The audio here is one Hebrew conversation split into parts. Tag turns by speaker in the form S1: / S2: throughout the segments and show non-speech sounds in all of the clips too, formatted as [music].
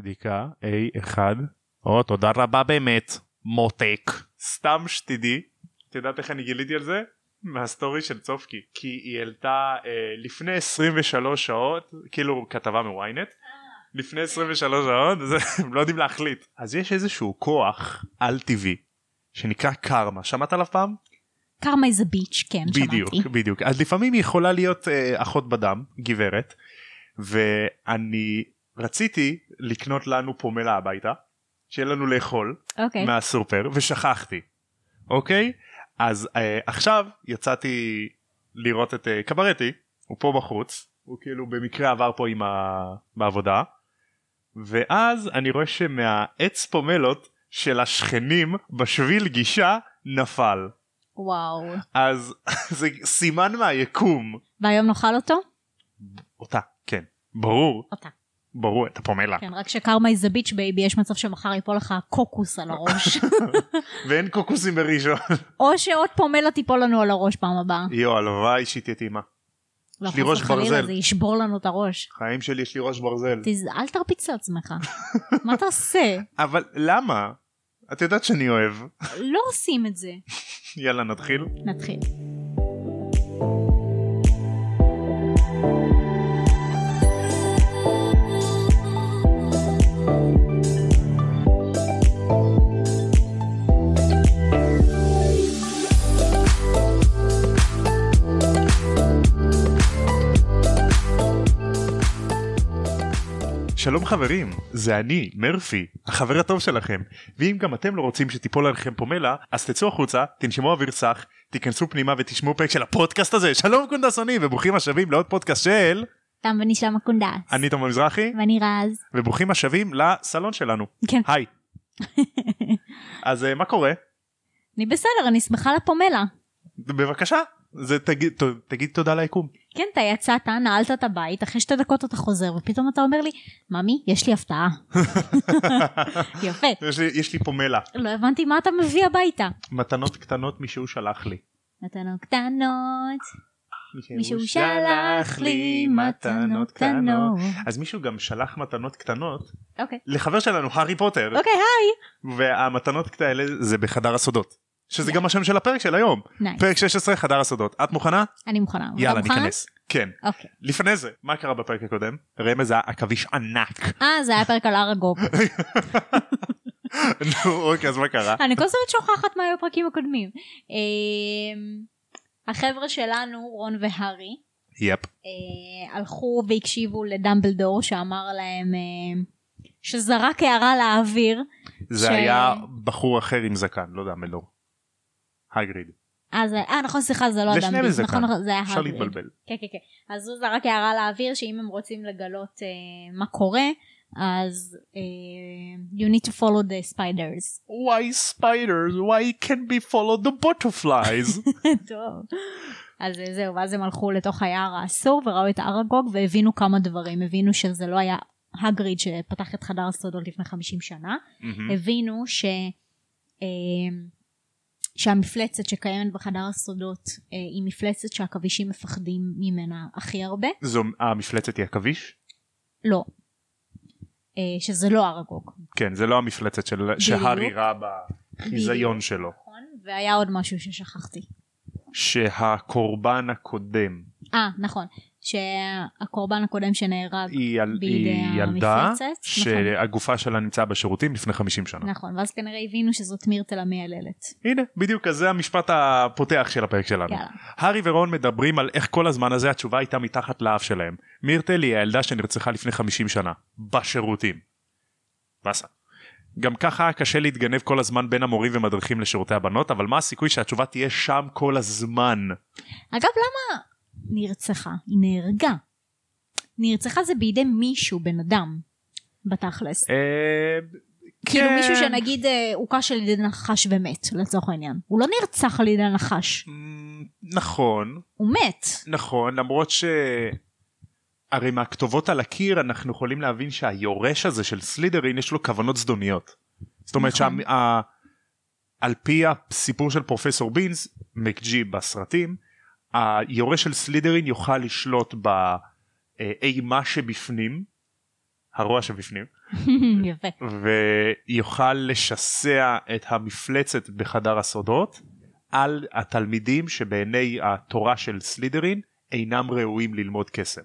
S1: בדיקה A1. או תודה רבה באמת מותק. סתם שתדעי, את יודעת איך אני גיליתי על זה? מהסטורי של צופקי כי היא העלתה אה, לפני 23 שעות כאילו כתבה מוויינט לפני 23 שעות אז [laughs] הם לא יודעים להחליט אז יש איזשהו כוח על טבעי שנקרא קרמה שמעת עליו פעם?
S2: קרמה איזה ביץ', כן,
S1: בדיוק,
S2: שמעתי.
S1: בדיוק. אז לפעמים היא יכולה להיות אה, אחות בדם, גברת, ואני רציתי לקנות לנו פומלה הביתה, שיהיה לנו לאכול
S2: אוקיי.
S1: מהסופר, ושכחתי, אוקיי? אז אה, עכשיו יצאתי לראות את אה, קברטי, הוא פה בחוץ, הוא כאילו במקרה עבר פה עם ה... בעבודה, ואז אני רואה שמהעץ פומלות של השכנים בשביל גישה נפל.
S2: וואו.
S1: אז [laughs] זה סימן מהיקום.
S2: והיום נאכל אותו?
S1: אותה, כן. ברור,
S2: אותה.
S1: ברור, אתה פומלה.
S2: כן, רק שקרמה איזה ביץ' בייבי, יש מצב שמחר ייפול לך קוקוס על הראש.
S1: [laughs] ואין קוקוסים בראשון. [laughs]
S2: או שעוד פומלה תיפול לנו על הראש פעם הבאה.
S1: יואו, הלוואי שהיא תהיה טעימה.
S2: לא,
S1: יש לי
S2: חס
S1: ראש
S2: וחלילה,
S1: ברזל.
S2: זה ישבור לנו את הראש.
S1: חיים שלי יש לי ראש ברזל.
S2: תז- אל תרביץ לעצמך.
S1: [laughs]
S2: מה תעשה?
S1: אבל למה? את יודעת שאני אוהב. [laughs]
S2: לא עושים את זה.
S1: יאללה, נתחיל.
S2: נתחיל.
S1: שלום חברים, זה אני, מרפי, החבר הטוב שלכם. ואם גם אתם לא רוצים שתיפול עליכם פומלה, אז תצאו החוצה, תנשמו אוויר צח, תיכנסו פנימה ותשמעו פרק של הפודקאסט הזה. שלום קונדסונים, וברוכים השבים לעוד פודקאסט של...
S2: תם ונשלם הקונדס.
S1: אני תומר
S2: [laughs]
S1: מזרחי,
S2: ואני רז.
S1: וברוכים השבים לסלון שלנו.
S2: כן.
S1: היי. אז אה, מה קורה?
S2: אני בסדר, אני שמחה לפומלה.
S1: בבקשה, זה תגיד, ת, תגיד תודה ליקום.
S2: כן, אתה יצאת, נעלת את הבית, אחרי שתי דקות אתה חוזר, ופתאום אתה אומר לי, ממי, יש לי הפתעה. יפה.
S1: [laughs] יש לי, יש לי פומלה,
S2: לא הבנתי מה אתה מביא הביתה.
S1: מתנות קטנות מישהו שלח לי.
S2: מתנות קטנות, מישהו שלח לי מתנות קטנות.
S1: אז מישהו גם שלח מתנות קטנות
S2: אוקיי.
S1: לחבר שלנו, הארי פוטר,
S2: אוקיי, היי.
S1: והמתנות קטנות האלה זה בחדר הסודות. שזה גם השם של הפרק של היום.
S2: נייס.
S1: פרק 16, חדר הסודות. את מוכנה?
S2: אני מוכנה. אתה
S1: יאללה,
S2: מוכן?
S1: ניכנס. כן.
S2: אוקיי.
S1: לפני זה, מה קרה בפרק הקודם? רמז היה עכביש ענק. [laughs]
S2: אה, זה היה פרק על הר הגוג.
S1: נו, אוקיי, אז מה קרה?
S2: אני כל הזמן שוכחת מה היו הפרקים הקודמים. אמ, החבר'ה שלנו, רון והארי,
S1: יפ.
S2: אה, הלכו והקשיבו לדמבלדור שאמר להם, אה, שזרק הערה לאוויר,
S1: זה
S2: ש-
S1: היה בחור אחר עם זקן, לא יודע, מלור. הגריד.
S2: אה, זה- אה, נכון, סליחה, זה לא
S1: לשניהם
S2: דמבלדור,
S1: יש זקן.
S2: נכון, נכון, זה היה
S1: אפשר
S2: הגריד.
S1: להתבלבל.
S2: כן, כן, כן. אז הוא זרק הערה לאוויר שאם הם רוצים לגלות אה, מה קורה, אז אה, you need to follow the spiders. [laughs]
S1: Why spiders? Why can be followed the
S2: [laughs]
S1: butterflies?
S2: טוב. אז אה, זהו, ואז הם הלכו לתוך היער האסור וראו את אראגוג והבינו כמה דברים. הבינו שזה לא היה הגריד שפתח את חדר הסודות לפני 50 שנה.
S1: Mm-hmm. Mhm.
S2: הבינו ש... אה, שהמפלצת שקיימת בחדר הסודות אה, היא מפלצת שהעכבישים מפחדים ממנה הכי הרבה.
S1: זו המפלצת היא עכביש?
S2: לא. אה, שזה לא אראגוג.
S1: כן, זה לא המפלצת של- שהארי ראה בחיזיון שלו.
S2: נכון? והיה עוד משהו ששכחתי.
S1: שהקורבן הקודם,
S2: אה, נכון. שהקורבן הקודם שנהרג,
S1: היא יל-
S2: בידי
S1: היא ילדה
S2: המפלצת, נכון.
S1: שהגופה שלה נמצאה בשירותים לפני 50 שנה.
S2: נכון, ואז כנראה הבינו שזאת מירטל המייללת.
S1: הנה, בדיוק, אז זה המשפט הפותח של הפרק שלנו.
S2: יאללה.
S1: הארי ורון מדברים על איך כל הזמן הזה התשובה הייתה מתחת לאף שלהם. מירטל היא הילדה שנרצחה לפני 50 שנה. בשירותים. באסה. גם ככה היה קשה להתגנב כל הזמן בין המורים ומדריכים לשירותי הבנות, אבל מה הסיכוי שהתשובה תהיה שם כל הזמן?
S2: אגב, למה נרצחה? היא נהרגה. נרצחה זה בידי מישהו, בן אדם, בתכלס.
S1: אה...
S2: כאילו
S1: כן.
S2: מישהו שנגיד אה, הוקש על ידי נחש ומת, לצורך העניין. הוא לא נרצח על ידי נחש,
S1: אמ, נכון,
S2: הוא מת. [laughs]
S1: נכון, למרות ש... הרי מהכתובות על הקיר אנחנו יכולים להבין שהיורש הזה של סלידרין יש לו כוונות זדוניות. זאת אומרת
S2: נכון.
S1: שה... ה- על פי הסיפור של פרופסור בינס, מקג'י בסרטים, היורש של סלידרין יוכל לשלוט באימה שבפנים, הרוע שבפנים,
S2: יפה.
S1: ויוכל לשסע את המפלצת בחדר הסודות על התלמידים שבעיני התורה של סלידרין אינם ראויים ללמוד קסם.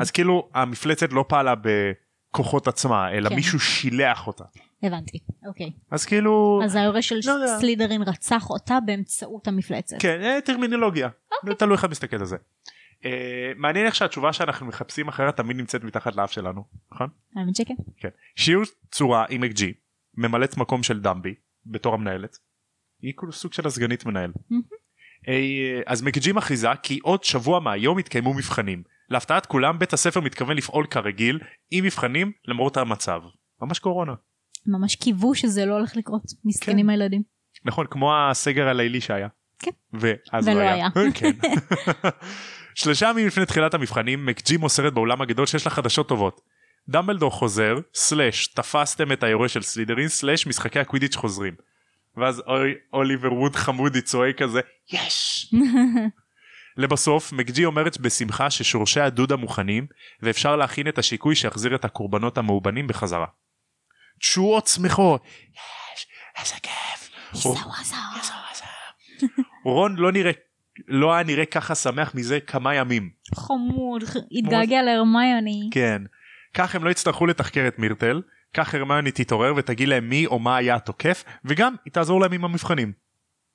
S1: אז כאילו המפלצת לא פעלה בכוחות עצמה אלא
S2: כן.
S1: מישהו שילח אותה.
S2: הבנתי, אוקיי.
S1: אז כאילו
S2: אז היורש של
S1: לא יודע.
S2: סלידרין רצח אותה באמצעות המפלצת.
S1: כן אה, טרמינולוגיה
S2: אוקיי.
S1: תלוי איך את מסתכלת על זה. אה, מעניין איך שהתשובה שאנחנו מחפשים אחרת תמיד נמצאת מתחת לאף שלנו נכון?
S2: האמת שכן.
S1: כן. שיעור צורה עם אק ג'י ממלאת מקום של דמבי בתור המנהלת. היא כאילו סוג של הסגנית מנהל.
S2: מהמם.
S1: אה, אז מק ג'י מכריזה כי עוד שבוע מהיום יתקיימו מבחנים. להפתעת כולם בית הספר מתכוון לפעול כרגיל עם מבחנים למרות המצב. ממש קורונה.
S2: ממש קיוו שזה לא הולך לקרות. מסכנים הילדים.
S1: נכון כמו הסגר הלילי שהיה.
S2: כן.
S1: ואז
S2: ולא
S1: לא היה.
S2: היה.
S1: כן. [laughs] שלושה ימים לפני תחילת המבחנים מקג'י מוסרת באולם הגדול שיש לה חדשות טובות. דמבלדור חוזר, סלאש תפסתם את היורה של סלידרין, סלאש משחקי הקווידיץ' חוזרים. ואז אוי, אוליבר ווד חמודי צועק כזה יש! לבסוף מקג'י אומרת בשמחה ששורשי הדודה מוכנים ואפשר להכין את השיקוי שיחזיר את הקורבנות המאובנים בחזרה. תשואות שמחות! יש! איזה כיף!
S2: איזה וואזה.
S1: רון לא נראה לא היה נראה ככה שמח מזה כמה ימים.
S2: חמוד. התגעגע להרמיוני.
S1: כן. כך הם לא יצטרכו לתחקר את מירטל, כך הרמיוני תתעורר ותגיד להם מי או מה היה התוקף, וגם היא תעזור להם עם המבחנים.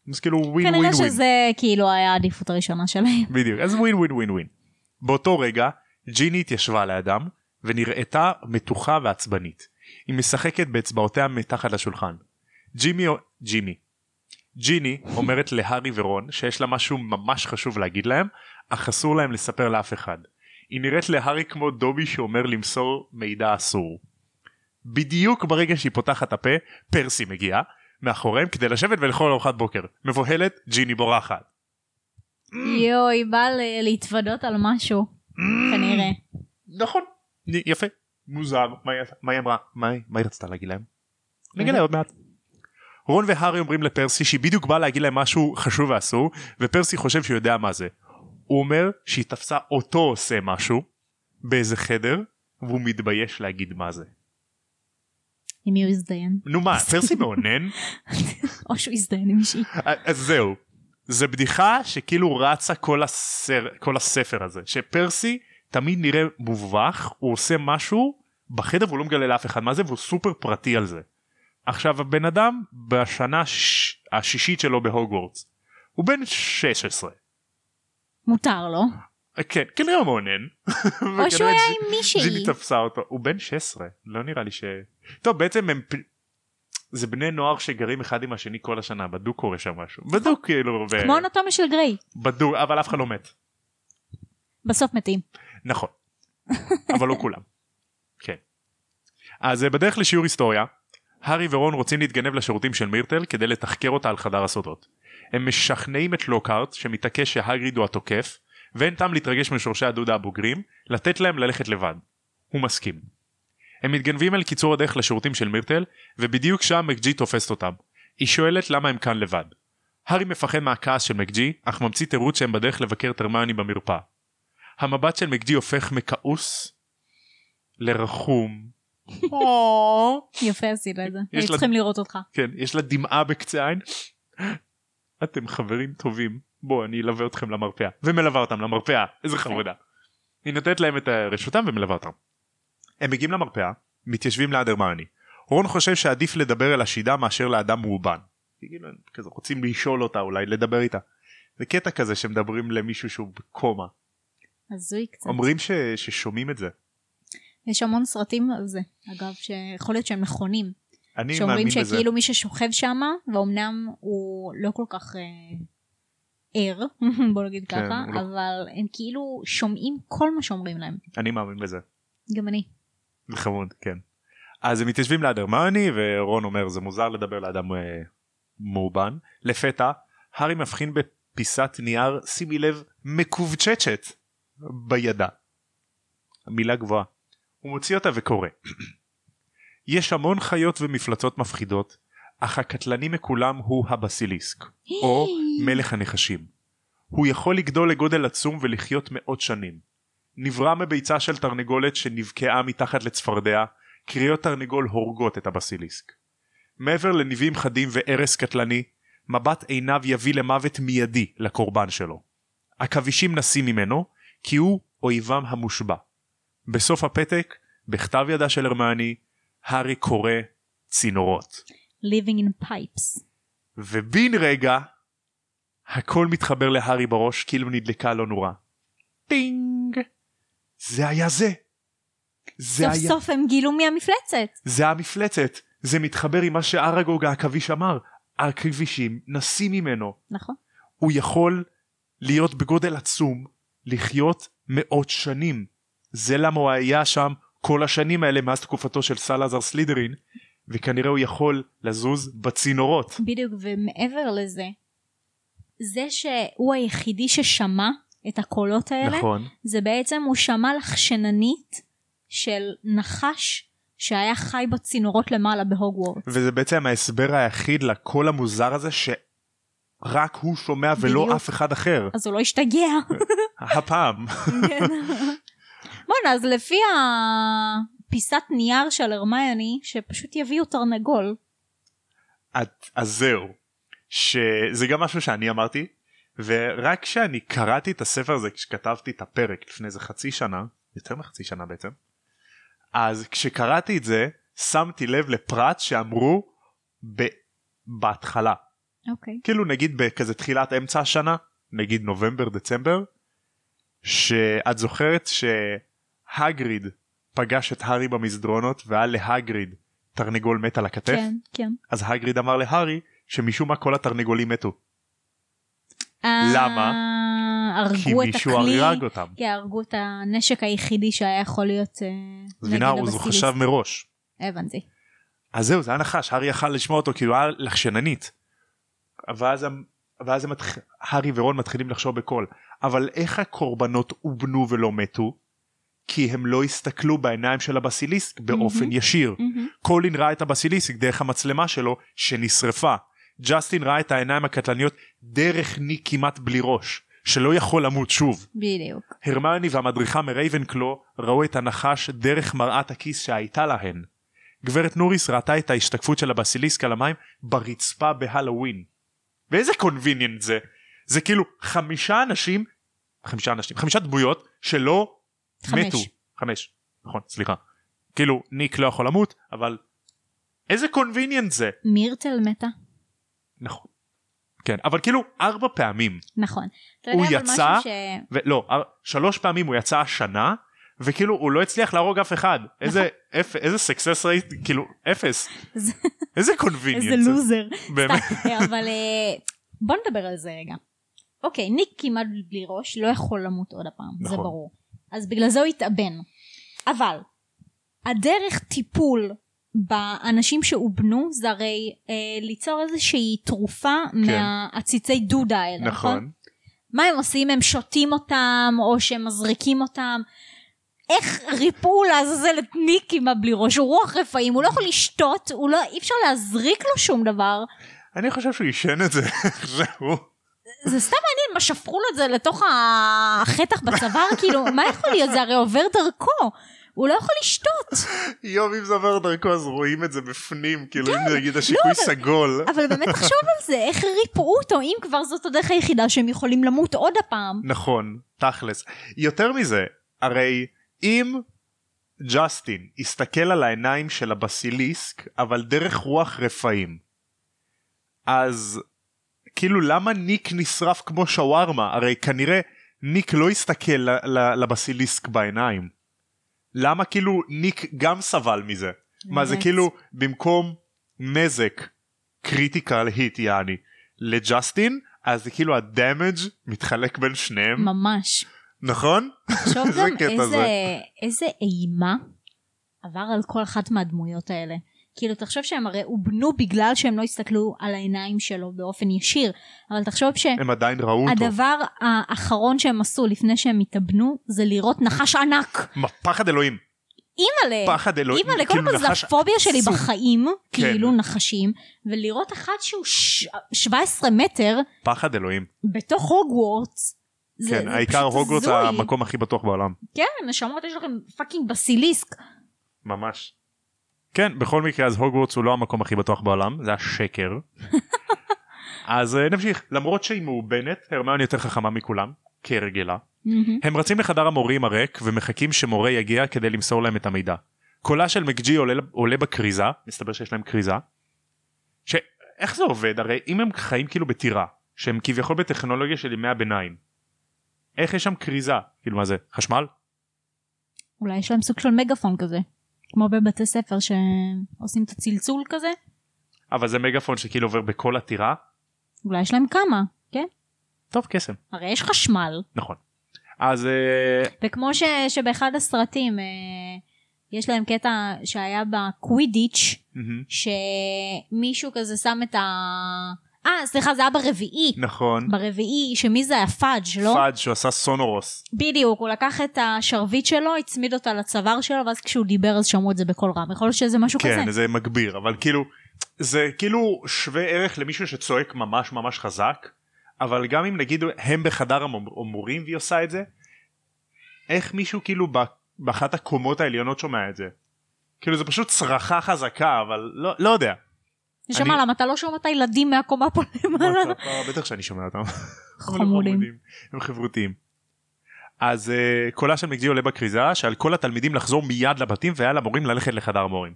S1: אז כאילו ווין ווין
S2: כנראה
S1: ווין.
S2: שזה כאילו היה העדיפות הראשונה שלהם.
S1: בדיוק, אז ווין ווין ווין ווין. באותו רגע, ג'יני התיישבה לידם, ונראתה מתוחה ועצבנית. היא משחקת באצבעותיה מתחת לשולחן. ג'ימי, או- ג'ימי. ג'יני אומרת להארי ורון שיש לה משהו ממש חשוב להגיד להם, אך אסור להם לספר לאף אחד. היא נראית להארי כמו דובי שאומר למסור מידע אסור. בדיוק ברגע שהיא פותחת הפה, פרסי מגיע, מאחוריהם כדי לשבת ולאכול ארוחת בוקר. מבוהלת, ג'יני בורחת. Mm.
S2: יואו, היא באה ל- להתוודות על משהו. כנראה.
S1: נכון. יפה. מוזר. מה היא עשתה? מה היא אמרה? מה היא- מה היא רצתה להגיד להם? נגלה
S2: יודע.
S1: עוד מעט. רון והארי אומרים לפרסי שהיא בדיוק באה להגיד להם משהו חשוב ואסור ופרסי חושב שהוא יודע מה זה. הוא אומר שהיא תפסה אותו עושה משהו באיזה חדר והוא מתבייש להגיד מה זה.
S2: עם מי הוא הזדיין. [laughs]
S1: נו מה פרסי מאונן?
S2: או שהוא הזדיין עם מישהי.
S1: אה, אז זהו. זה בדיחה שכאילו רצה כל, הסר, כל הספר הזה שפרסי תמיד נראה מובך הוא עושה משהו בחדר והוא לא מגלה לאף אחד מה זה והוא סופר פרטי על זה. עכשיו הבן אדם בשנה ש... השישית שלו בהוגוורטס הוא בן 16
S2: מותר לו.
S1: כן כנראה הוא מאונן.
S2: או שהוא היה עם מישהי.
S1: ג'יני תפסה אותו הוא בן 16 לא נראה לי ש... טוב בעצם הם פ- זה בני נוער שגרים אחד עם השני כל השנה בדוק קורה שם משהו בדוק כאילו ו-
S2: כמו אנטומיה של גריי.
S1: בדוק אבל אף אחד לא מת.
S2: בסוף מתים.
S1: נכון. אבל לא כולם. כן. אז אה, בדרך לשיעור היסטוריה, הארי ורון רוצים להתגנב לשירותים של מירטל כדי לתחקר אותה על חדר הסודות. הם משכנעים את לוקהרט שמתעקש שהגריד הוא התוקף, ואין טעם להתרגש משורשי הדודה הבוגרים, לתת להם ללכת לבד. הוא מסכים. הם מתגנבים אל קיצור הדרך לשירותים של מירטל, ובדיוק שם מקג'י תופסת אותם. היא שואלת למה הם כאן לבד. הארי מפחד מהכעס של מקג'י, אך ממציא תירוץ שהם בדרך לבקר את הרמיוני במרפאה. המבט של מקג'י הופך מכעוס לרחום.
S2: יפה עשית את זה.
S1: יש
S2: היו
S1: לה-
S2: צריכים לראות אותך.
S1: כן, יש לה דמעה בקצה העין. אתם חברים טובים, בואו אני אלווה אתכם למרפאה. ומלווה אותם למרפאה, איזה חמודה. היא נותנת להם את אה, רשותם ומלווה אותם. הם מגיעים למרפאה, מתיישבים ליד הרמיוני. רון חושב שעדיף לדבר אל השידה מאשר לאדם מאובן. כאילו, הם כזה רוצים לשאול אותה אולי, לדבר איתה. זה קטע כזה שמדברים למישהו שהוא בקומה.
S2: הזוי קצת.
S1: אומרים ש... ששומעים את זה.
S2: יש המון סרטים על זה. אגב, שיכול להיות שהם נכונים.
S1: אני מאמין
S2: שאומרים
S1: בזה.
S2: שכאילו מי ששוכב שם, ואומנם הוא לא כל כך אה, ער, [laughs] בוא נגיד
S1: כן,
S2: ככה,
S1: הוא לא-
S2: אבל הם כאילו שומעים כל מה שאומרים להם.
S1: אני מאמין בזה.
S2: גם אני.
S1: זה חמוד, כן. אז הם מתיישבים ליד הרמני ורון אומר זה מוזר לדבר לאדם אה, מאובן. לפתע, הארי מבחין בפיסת נייר, שימי לב, מקובצ'צ'ת בידה. מילה גבוהה. הוא מוציא אותה וקורא. [clears throat] יש המון חיות ומפלצות מפחידות, אך הקטלני מכולם הוא הבסיליסק,
S2: [gasps]
S1: או מלך הנחשים. הוא יכול לגדול לגודל עצום ולחיות מאות שנים. נברא מביצה של תרנגולת שנבקעה מתחת לצפרדע, קריות תרנגול הורגות את הבסיליסק. מעבר לניבים חדים והרס קטלני, מבט עיניו יביא למוות מיידי לקורבן שלו. עכבישים נסים ממנו, כי הוא אויבם המושבע. בסוף הפתק, בכתב ידה של הרמני, הארי קורא צינורות.
S2: living in pipes.
S1: ובן רגע, הכל מתחבר להארי בראש כאילו נדלקה לא נורא. טינג! זה היה זה. זה
S2: סוף
S1: היה...
S2: סוף הם גילו מי המפלצת.
S1: זה המפלצת, זה מתחבר עם מה שאראגוג העכביש אמר, הכבישים נסים ממנו,
S2: נכון.
S1: הוא יכול להיות בגודל עצום, לחיות מאות שנים. זה למה הוא היה שם כל השנים האלה מאז תקופתו של סלאזר סלידרין, וכנראה הוא יכול לזוז בצינורות.
S2: בדיוק, ומעבר לזה, זה שהוא היחידי ששמע את הקולות האלה,
S1: נכון.
S2: זה בעצם הוא שמע לחשננית של נחש שהיה חי בצינורות למעלה בהוגוורט.
S1: וזה בעצם ההסבר היחיד לקול המוזר הזה שרק הוא שומע ולא
S2: בדיוק.
S1: אף אחד אחר.
S2: אז הוא לא השתגע.
S1: הפעם.
S2: כן. בואנה, אז לפי הפיסת נייר של הרמיוני, שפשוט יביאו תרנגול.
S1: את- אז זהו. שזה גם משהו שאני אמרתי, ורק כשאני קראתי את הספר הזה, כשכתבתי את הפרק לפני איזה חצי שנה, יותר מחצי שנה בעצם, אז כשקראתי את זה, שמתי לב לפרט שאמרו ב- בהתחלה.
S2: אוקיי.
S1: כאילו נגיד בכזה תחילת אמצע השנה, נגיד נובמבר דצמבר, שאת זוכרת שהגריד פגש את הארי במסדרונות והיה להגריד תרנגול מת על הכתף?
S2: כן, כן.
S1: אז הגריד אמר להארי שמשום מה כל התרנגולים מתו. למה?
S2: אה,
S1: כי
S2: הרגו את
S1: מישהו
S2: הכלי.
S1: הרג אותם.
S2: כי הרגו את הנשק היחידי שהיה יכול להיות אה,
S1: אז
S2: נגד
S1: מבינה, הוא
S2: הבסיליסק.
S1: חשב מראש.
S2: הבנתי.
S1: אז זהו, זה היה נחש, הארי יכל לשמוע אותו כאילו היה לחשננית. ואז, הם- ואז הם מתח... הארי ורון מתחילים לחשוב בקול. אבל איך הקורבנות עובנו ולא מתו? כי הם לא הסתכלו בעיניים של הבסיליסק באופן
S2: מהמם.
S1: ישיר.
S2: מהמם.
S1: קולין ראה את הבסיליסק דרך המצלמה שלו שנשרפה. ג'סטין ראה את העיניים הקטלניות דרך ניק כמעט בלי ראש, שלא יכול למות שוב.
S2: בדיוק.
S1: הרמיוני והמדריכה מרייבנקלו ראו את הנחש דרך מראת הכיס שהייתה להן. גברת נוריס ראתה את ההשתקפות של הבסיליסק על המים ברצפה בהלואוין. ואיזה קונביניאנט זה. זה כאילו חמישה אנשים, חמישה אנשים, חמישה דמויות שלא
S2: חמש.
S1: מתו. חמש. נכון, סליחה. כאילו, ניק לא יכול למות, אבל איזה קונביניאנט זה.
S2: מירטל מתה.
S1: נכון. כן, אבל כאילו ארבע פעמים.
S2: נכון. אתה
S1: הוא
S2: יודע אבל
S1: יצא?
S2: משהו ש...
S1: ולא, אר- לא, אה, שלוש פעמים הוא יצא השנה, וכאילו הוא לא הצליח להרוג אף אחד.
S2: נכון.
S1: איזה אפ- איזה סקסס רייט, כאילו אפס.
S2: זה-
S1: איזה קונביניאנס.
S2: איזה לוזר.
S1: באמת.
S2: סתם, אבל אה, בוא נדבר על זה רגע. אוקיי, ניק כמעט בלי ראש, לא יכול למות עוד הפעם, זה
S1: נכון.
S2: ברור. אז בגלל זה הוא התאבן. אבל, הדרך טיפול באנשים שאובנו זה הרי אה, ליצור איזושהי תרופה מהעציצי דודה האלה, נכון?
S1: כן. נכון.
S2: מה הם עושים? הם שותים אותם, או שהם מזריקים אותם. איך ריפאו לעזאזל את ניק עם הבלי ראש? הוא רוח רפאים, הוא לא יכול לשתות, הוא לא, אי אפשר להזריק לו שום דבר.
S1: אני חושב שהוא עישן את זה. זהו.
S2: זה סתם מעניין מה שפכו לו את זה לתוך החטח בצוואר, כאילו, מה יכול להיות? זה הרי עובר דרכו. הוא לא יכול לשתות,
S1: יום אם זה עבר דרכו אז רואים את זה בפנים, כאילו אם נגיד השיקוי
S2: כן. לא, אבל-
S1: סגול.
S2: אבל באמת תחשוב על זה, איך ריפאו אותו, אם כבר זאת הדרך היחידה שהם יכולים למות עוד הפעם.
S1: נכון, תכלס. יותר מזה, הרי אם ג'סטין יסתכל על העיניים של הבסיליסק, אבל דרך רוח רפאים, אז כאילו למה ניק נשרף כמו שווארמה? הרי כנראה ניק לא הסתכל ל- ל- לבסיליסק בעיניים. למה כאילו ניק גם סבל מזה? מה זה
S2: באמת.
S1: כאילו במקום נזק קריטיקל היט יעני לג'סטין אז זה כאילו הדמג' מתחלק בין שניהם
S2: ממש.
S1: נכון?
S2: תחשוב
S1: זה
S2: גם
S1: קטע
S2: איזה,
S1: זה.
S2: איזה אימה עבר על כל אחת מהדמויות האלה. כאילו תחשוב שהם הרי הובנו בגלל שהם לא הסתכלו על העיניים שלו באופן ישיר, אבל תחשוב
S1: הם עדיין ראו אותו.
S2: שהדבר האחרון שהם עשו לפני שהם התאבנו זה לראות נחש ענק.
S1: מה, פחד אלוהים.
S2: אימא'לה,
S1: פחד אלוהים.
S2: אימא'לה, קודם
S1: כאילו
S2: כל זה
S1: נחש
S2: הפוביה שלי
S1: עצום.
S2: בחיים,
S1: כן.
S2: כאילו נחשים, ולראות אחת שהוא ש- 17 מטר
S1: פחד אלוהים.
S2: בתוך הוגוורטס. זה-
S1: כן,
S2: זה
S1: העיקר
S2: פשוט
S1: הוגוורטס
S2: הזוי.
S1: המקום הכי בטוח בעולם.
S2: כן, נשמות, יש לכם פאקינג בסיליסק.
S1: ממש. כן בכל מקרה אז הוגוורטס הוא לא המקום הכי בטוח בעולם זה
S2: [laughs]
S1: השקר. אז אה, נמשיך למרות שהיא מאובנת הרמיוני יותר חכמה מכולם כהרגלה.
S2: מהמם.
S1: הם רצים לחדר המורים הריק ומחכים שמורה יגיע כדי למסור להם את המידע. קולה של מקג'י עולה, עולה בכריזה, מסתבר שיש להם כריזה. ש... איך זה עובד? הרי אם הם חיים כאילו בטירה, שהם כביכול בטכנולוגיה של ימי הביניים, איך יש שם כריזה? כאילו מה זה? חשמל?
S2: אולי יש להם סוג של מגאפון כזה. כמו בבתי ספר שעושים את הצלצול כזה.
S1: אבל זה מגאפון שכאילו עובר בכל הטירה?
S2: אולי יש להם כמה, כן?
S1: טוב קסם.
S2: הרי יש חשמל.
S1: נכון. אז אה,
S2: וכמו ש, שבאחד הסרטים אה, יש להם קטע שהיה בקווידיץ'
S1: מהמם.
S2: שמישהו כזה שם את ה... אה, סליחה, זה היה ברביעי.
S1: נכון.
S2: ברביעי, שמי זה היה? פאג', לא?
S1: פאד שהוא עשה סונורוס.
S2: בדיוק, הוא לקח את השרביט שלו, הצמיד אותה לצוואר שלו, ואז כשהוא דיבר אז שמעו את זה בקול רם. יכול להיות שזה משהו
S1: כן
S2: כזה.
S1: זה מגביר אבל כאילו זה כאילו שווה ערך למישהו שצועק ממש ממש חזק אבל גם אם נגיד הם בחדר המור- המורים והיא עושה את זה איך מישהו כאילו ב- באחת הקומות העליונות שומע את זה כאילו זה פשוט צרחה חזקה אבל לא, לא
S2: [laughs]
S1: יודע
S2: זה
S1: אני-
S2: שמע, למה אתה לא שומע את הילדים מהקומה
S1: [laughs]
S2: פה למעלה?
S1: אה, בטח שאני שומע אותם לא
S2: חמודים.
S1: הם חברותיים אז אה, קולה של מקג'י עולה בכריזה שעל כל התלמידים לחזור מיד לבתים ועל המורים ללכת לחדר המורים.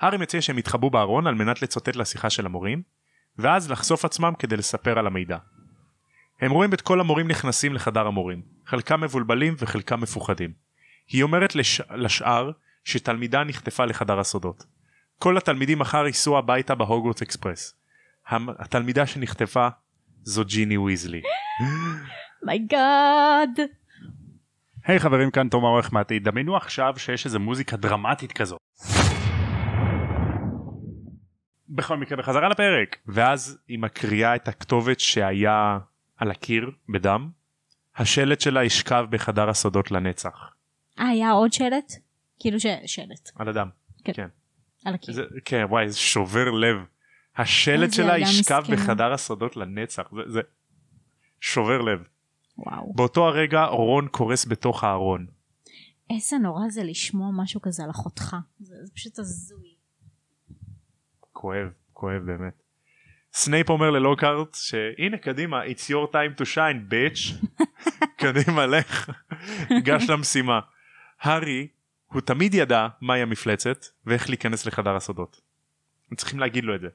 S1: הארי מציע שהם יתחבאו בארון על מנת לצוטט לשיחה של המורים ואז לחשוף עצמם כדי לספר על המידע. הם רואים את כל המורים נכנסים לחדר המורים חלקם מבולבלים וחלקם מפוחדים. היא אומרת לש... לשאר שתלמידה נחטפה לחדר הסודות. כל התלמידים מחר ייסעו הביתה בהוגוורטס אקספרס. המ- התלמידה שנחטפה זו ג'יני ויזלי.
S2: מייגאד.
S1: היי hey, חברים כאן תום האורך מעתיד דמיינו עכשיו שיש איזה מוזיקה דרמטית כזו. בכל מקרה בחזרה לפרק ואז היא מקריאה את הכתובת שהיה על הקיר בדם השלט שלה ישכב בחדר הסודות לנצח
S2: אה, היה עוד שלט? כאילו ש... שלט,
S1: על הדם
S2: על הקיר.
S1: זה, כן וואי זה שובר לב השלט
S2: איזה
S1: שלה
S2: ילדה
S1: ישכב
S2: מסכנה.
S1: בחדר הסודות לנצח זה, זה שובר לב
S2: וואו.
S1: באותו הרגע רון קורס בתוך הארון
S2: איזה נורא זה לשמוע משהו כזה על אחותך. זה זה פשוט הזוי.
S1: כואב, כואב באמת. סנייפ אומר ללוקארט שהנה קדימה it's your time to shine bitch קדימה לך גש למשימה. הארי הוא תמיד ידע מהי המפלצת ואיך להיכנס לחדר הסודות. הם צריכים להגיד לו את זה.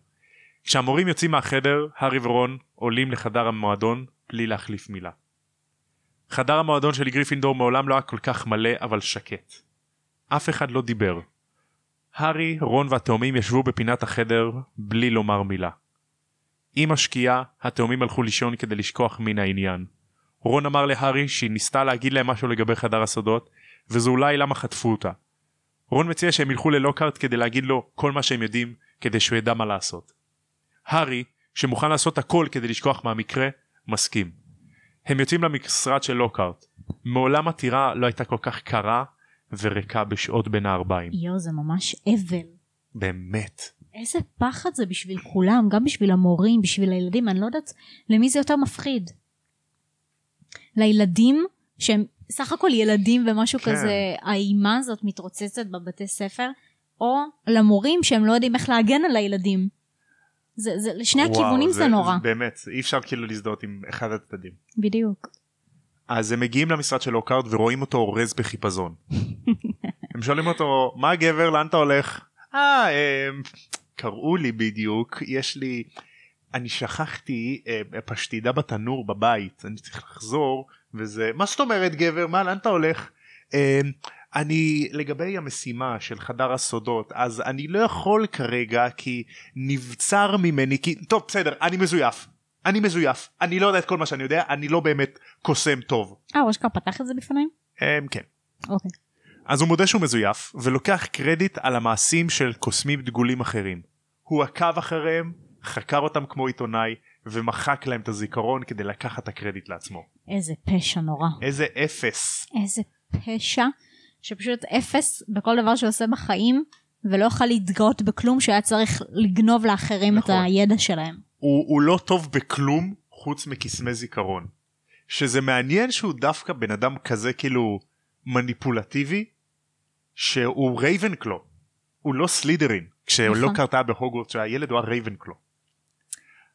S1: כשהמורים יוצאים מהחדר הארי ורון עולים לחדר המועדון בלי להחליף מילה. חדר המועדון של גריפינדור מעולם לא היה כל כך מלא אבל שקט. אף אחד לא דיבר. הארי, רון והתאומים ישבו בפינת החדר בלי לומר מילה. עם השקיעה, התאומים הלכו לישון כדי לשכוח מן העניין. רון אמר להארי שהיא ניסתה להגיד להם משהו לגבי חדר הסודות, וזו אולי למה חטפו אותה. רון מציע שהם ילכו ללוקארט כדי להגיד לו כל מה שהם יודעים, כדי שהוא ידע מה לעשות. הארי, שמוכן לעשות הכל כדי לשכוח מהמקרה, מסכים. הם יוצאים למשרד של לוקארט. מעולם הטירה לא הייתה כל כך קרה וריקה בשעות בין הערביים.
S2: יואו, זה ממש אבל.
S1: באמת.
S2: איזה פחד זה בשביל כולם, גם בשביל המורים, בשביל הילדים, אני לא יודעת למי זה יותר מפחיד. לילדים, שהם סך הכל ילדים ומשהו
S1: כן.
S2: כן. כזה, האימה הזאת מתרוצצת בבתי ספר, או למורים שהם לא יודעים איך להגן על הילדים. זה, זה, לשני
S1: וואו,
S2: הכיוונים זה, זה נורא.
S1: זה, באמת, אי אפשר כאילו להזדהות עם אחד הצדדים.
S2: בדיוק.
S1: אז הם מגיעים למשרד של לוקארד ורואים אותו אורז בחיפזון. הם שואלים אותו, מה גבר, לאן אתה הולך? אה, הם... קראו לי בדיוק, יש לי... אני שכחתי אה, פשטידה בתנור בבית, אני צריך לחזור, וזה... מה זאת אומרת גבר, מה, לאן אתה הולך? אה, אני לגבי המשימה של חדר הסודות אז אני לא יכול כרגע כי נבצר ממני כי טוב בסדר אני מזויף אני מזויף אני לא יודע את כל מה שאני יודע אני לא באמת קוסם טוב.
S2: אה, הוא אשכרה פתח את זה בפניהם?
S1: אמ, כן.
S2: אוקיי.
S1: אז הוא מודה שהוא מזויף ולוקח קרדיט על המעשים של קוסמים דגולים אחרים. הוא עקב אחריהם, חקר אותם כמו עיתונאי ומחק להם את הזיכרון כדי לקחת את הקרדיט לעצמו.
S2: איזה פשע נורא.
S1: איזה אפס.
S2: איזה פשע, שפשוט אפס בכל דבר שהוא עושה בחיים, ולא יוכל להתגאות בכלום שהיה צריך לגנוב לאחרים
S1: נכון.
S2: נכון. את הידע שלהם.
S1: הוא, הוא לא טוב בכלום חוץ מקסמי זיכרון. שזה מעניין שהוא דווקא בן אדם כזה כאילו מניפולטיבי שהוא רייבנקלו. הוא לא סלידרין, כשלא
S2: נכון.
S1: קרתה בהוגוורט שהילד הוא הרייבנקלו.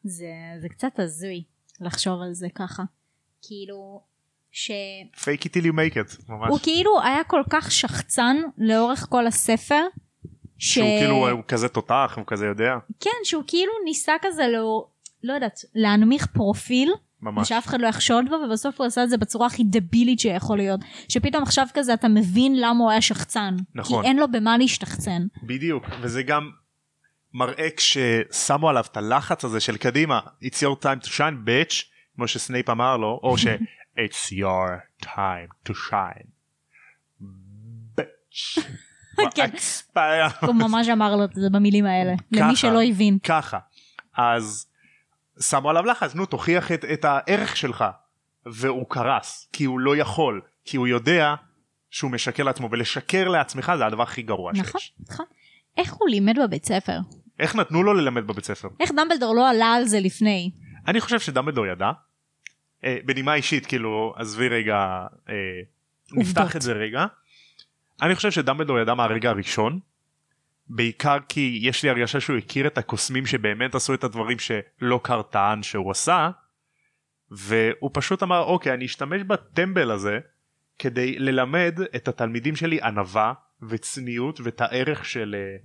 S2: זה, זה קצת הזוי לחשוב על זה ככה. כאילו, ש...
S1: fake it till you make it, ממש.
S2: הוא כאילו היה כל כך שחצן לאורך כל הספר, ש...
S1: שהוא כאילו הוא כזה תותח, הוא כזה יודע,
S2: כן, שהוא כאילו ניסה כזה לא... לא יודעת, להנמיך פרופיל,
S1: ממש.
S2: שאף אחד לא יחשוד בו, ובסוף הוא עשה את זה בצורה הכי דבילית שיכול להיות. שפתאום עכשיו כזה אתה מבין למה הוא היה שחצן.
S1: נכון.
S2: כי אין לו במה להשתחצן. [laughs]
S1: בדיוק, וזה גם מראה כששמו עליו את הלחץ הזה של קדימה, It's your time to shine bitch, כמו שסנייפ אמר לו,
S2: [laughs]
S1: או ש- It's your time to shine. bitch.
S2: [laughs] כן.
S1: Expire.
S2: הוא ממש אמר לו את זה במילים האלה. למי שלא הבין.
S1: ככה. אז שמו עליו לחץ, נו תוכיח את, את הערך שלך. והוא קרס, כי הוא לא יכול, כי הוא יודע שהוא משקר לעצמו, ולשקר לעצמך זה הדבר הכי גרוע
S2: נכון,
S1: שיש.
S2: נכון. איך הוא לימד בבית ספר?
S1: איך נתנו לו ללמד בבית ספר?
S2: איך דמבלדור לא עלה על זה לפני?
S1: אני חושב שדמבלדור ידע. אה, בנימה אישית, כאילו, עזבי רגע, אה, נפתח
S2: עובדות.
S1: את זה רגע. אני חושב שדמבלדור ידע מהרגע הראשון, בעיקר כי יש לי הרגשה שהוא הכיר את הקוסמים שבאמת עשו את הדברים שלא קר טען שהוא עשה, והוא פשוט אמר, אוקיי, אני אשתמש בטמבל הזה כדי ללמד את התלמידים שלי ענווה וצניעות ואת הערך של אה,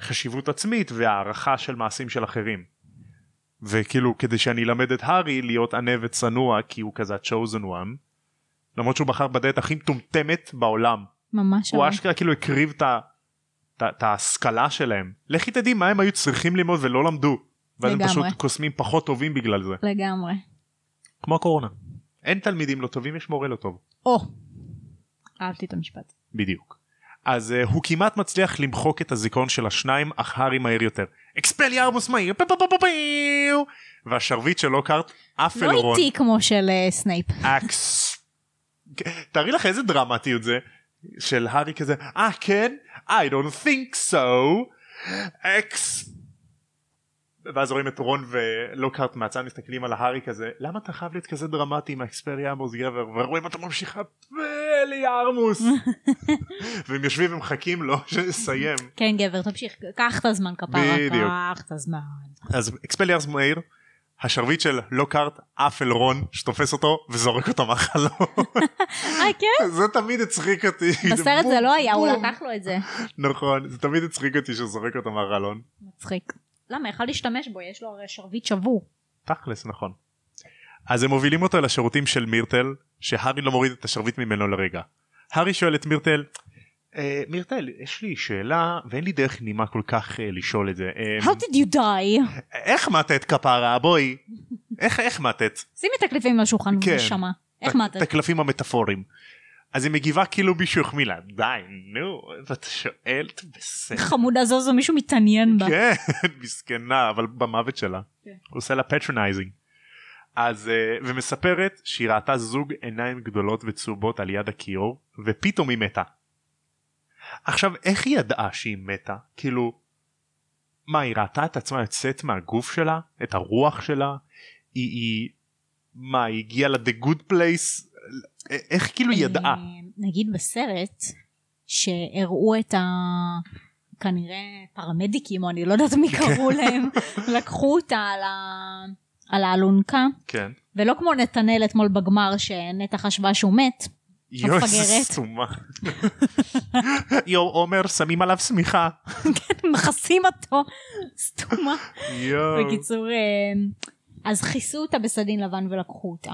S1: חשיבות עצמית והערכה של מעשים של אחרים. וכאילו כדי שאני אלמד את הארי להיות ענה וצנוע כי הוא כזה ה-chosen one למרות שהוא בחר בדלת הכי מטומטמת בעולם
S2: ממש
S1: הוא
S2: אבל.
S1: אשכרה כאילו הקריב את ה- את ה- את ההשכלה שלהם לכי תדעי מה הם היו צריכים ללמוד ולא למדו ואז הם
S2: לגמרי.
S1: פשוט קוסמים פחות טובים בגלל זה
S2: לגמרי.
S1: כמו הקורונה אין תלמידים לא טובים יש מורה לא טוב
S2: או. אהבתי את המשפט.
S1: בדיוק אז uh, הוא כמעט מצליח למחוק את הזיכרון של השניים אך הארי מהר יותר אקספל ירמוס מהיר פו פו פו פו פיו והשרביט של לוקארט עף אל
S2: לא
S1: רון
S2: איטי כמו של אה, סנייפ.
S1: אקס. תארי לך איזה דרמטיות זה של הארי כזה אה כן I don't think so אקס. ואז רואים את רון ולוקהרט מהצד מסתכלים על ההארי כזה למה אתה חייב להיות כזה דרמטי עם האקספליארמוס גבר ורואים אותו ממשיך פליארמוס והם יושבים ומחכים לו שיסיים
S2: כן גבר תמשיך קח את הזמן כפרה
S1: בדיוק.
S2: קח את הזמן.
S1: אז אקספליארס מהיר השרביט של לוקהרט עף אל רון שתופס אותו וזורק אותו מהחלום
S2: אה כן?
S1: זה תמיד הצחיק אותי.
S2: [laughs] בסרט זה
S1: בום,
S2: לא היה הוא
S1: בום.
S2: לקח לו את זה.
S1: נכון, זה תמיד הצחיק אותי שהוא זורק אותו מהחלון.
S2: מצחיק. למה יכל להשתמש בו יש לו הרי שרביט שבור.
S1: תכלס, נכון. אז הם מובילים אותו לשירותים של מירטל, שהארי לא מוריד את השרביט ממנו לרגע. הארי שואל את מירטל, "אה, מירטל, יש לי שאלה, ואין לי דרך נעימה כל כך אה, לשאול את זה. אה,
S2: [laughs] How did you die?
S1: איך מתת כפרה, בואי? איך, איך מתת?
S2: שימי את הקליפים על השולחן
S1: כן.
S2: נשמה. [laughs] איך
S1: את-
S2: מה אתה?
S1: את הקלפים המטאפוריים. אז היא מגיבה כאילו מישהו החמיא לה, די, נו, ואת שואלת, בסדר.
S2: חמודה זו זו מישהו מתעניין בה.
S1: כן, [laughs] מסכנה, אבל במוות שלה.
S2: כן.
S1: הוא עושה לה פטרונייזינג. אז, אה, ומספרת שהיא ראתה זוג עיניים גדולות וצהובות על יד הכיור, ופתאום היא מתה. עכשיו, איך היא ידעה שהיא מתה? כאילו, מה, היא ראתה את עצמה יוצאת מהגוף שלה? את הרוח שלה? היא, היא, מה, היא הגיעה ל-the good place? א- איך כאילו היא ידעה?
S2: אה, נגיד בסרט שהראו את ה... כנראה פרמדיקים או אני לא יודעת מי קראו
S1: כן. [laughs]
S2: להם לקחו אותה על, ה... על האלונקה
S1: כן.
S2: ולא כמו נתנאל אתמול בגמר שנטע חשבה שהוא
S1: [laughs]
S2: מת
S1: יואי, איזה
S2: מפגרת.
S1: סתומה. [laughs] יואו, עומר, שמים עליו שמיכה.
S2: מכסים אותו סתומה
S1: יואו.
S2: בקיצור אה, אז כיסו אותה בסדין לבן ולקחו אותה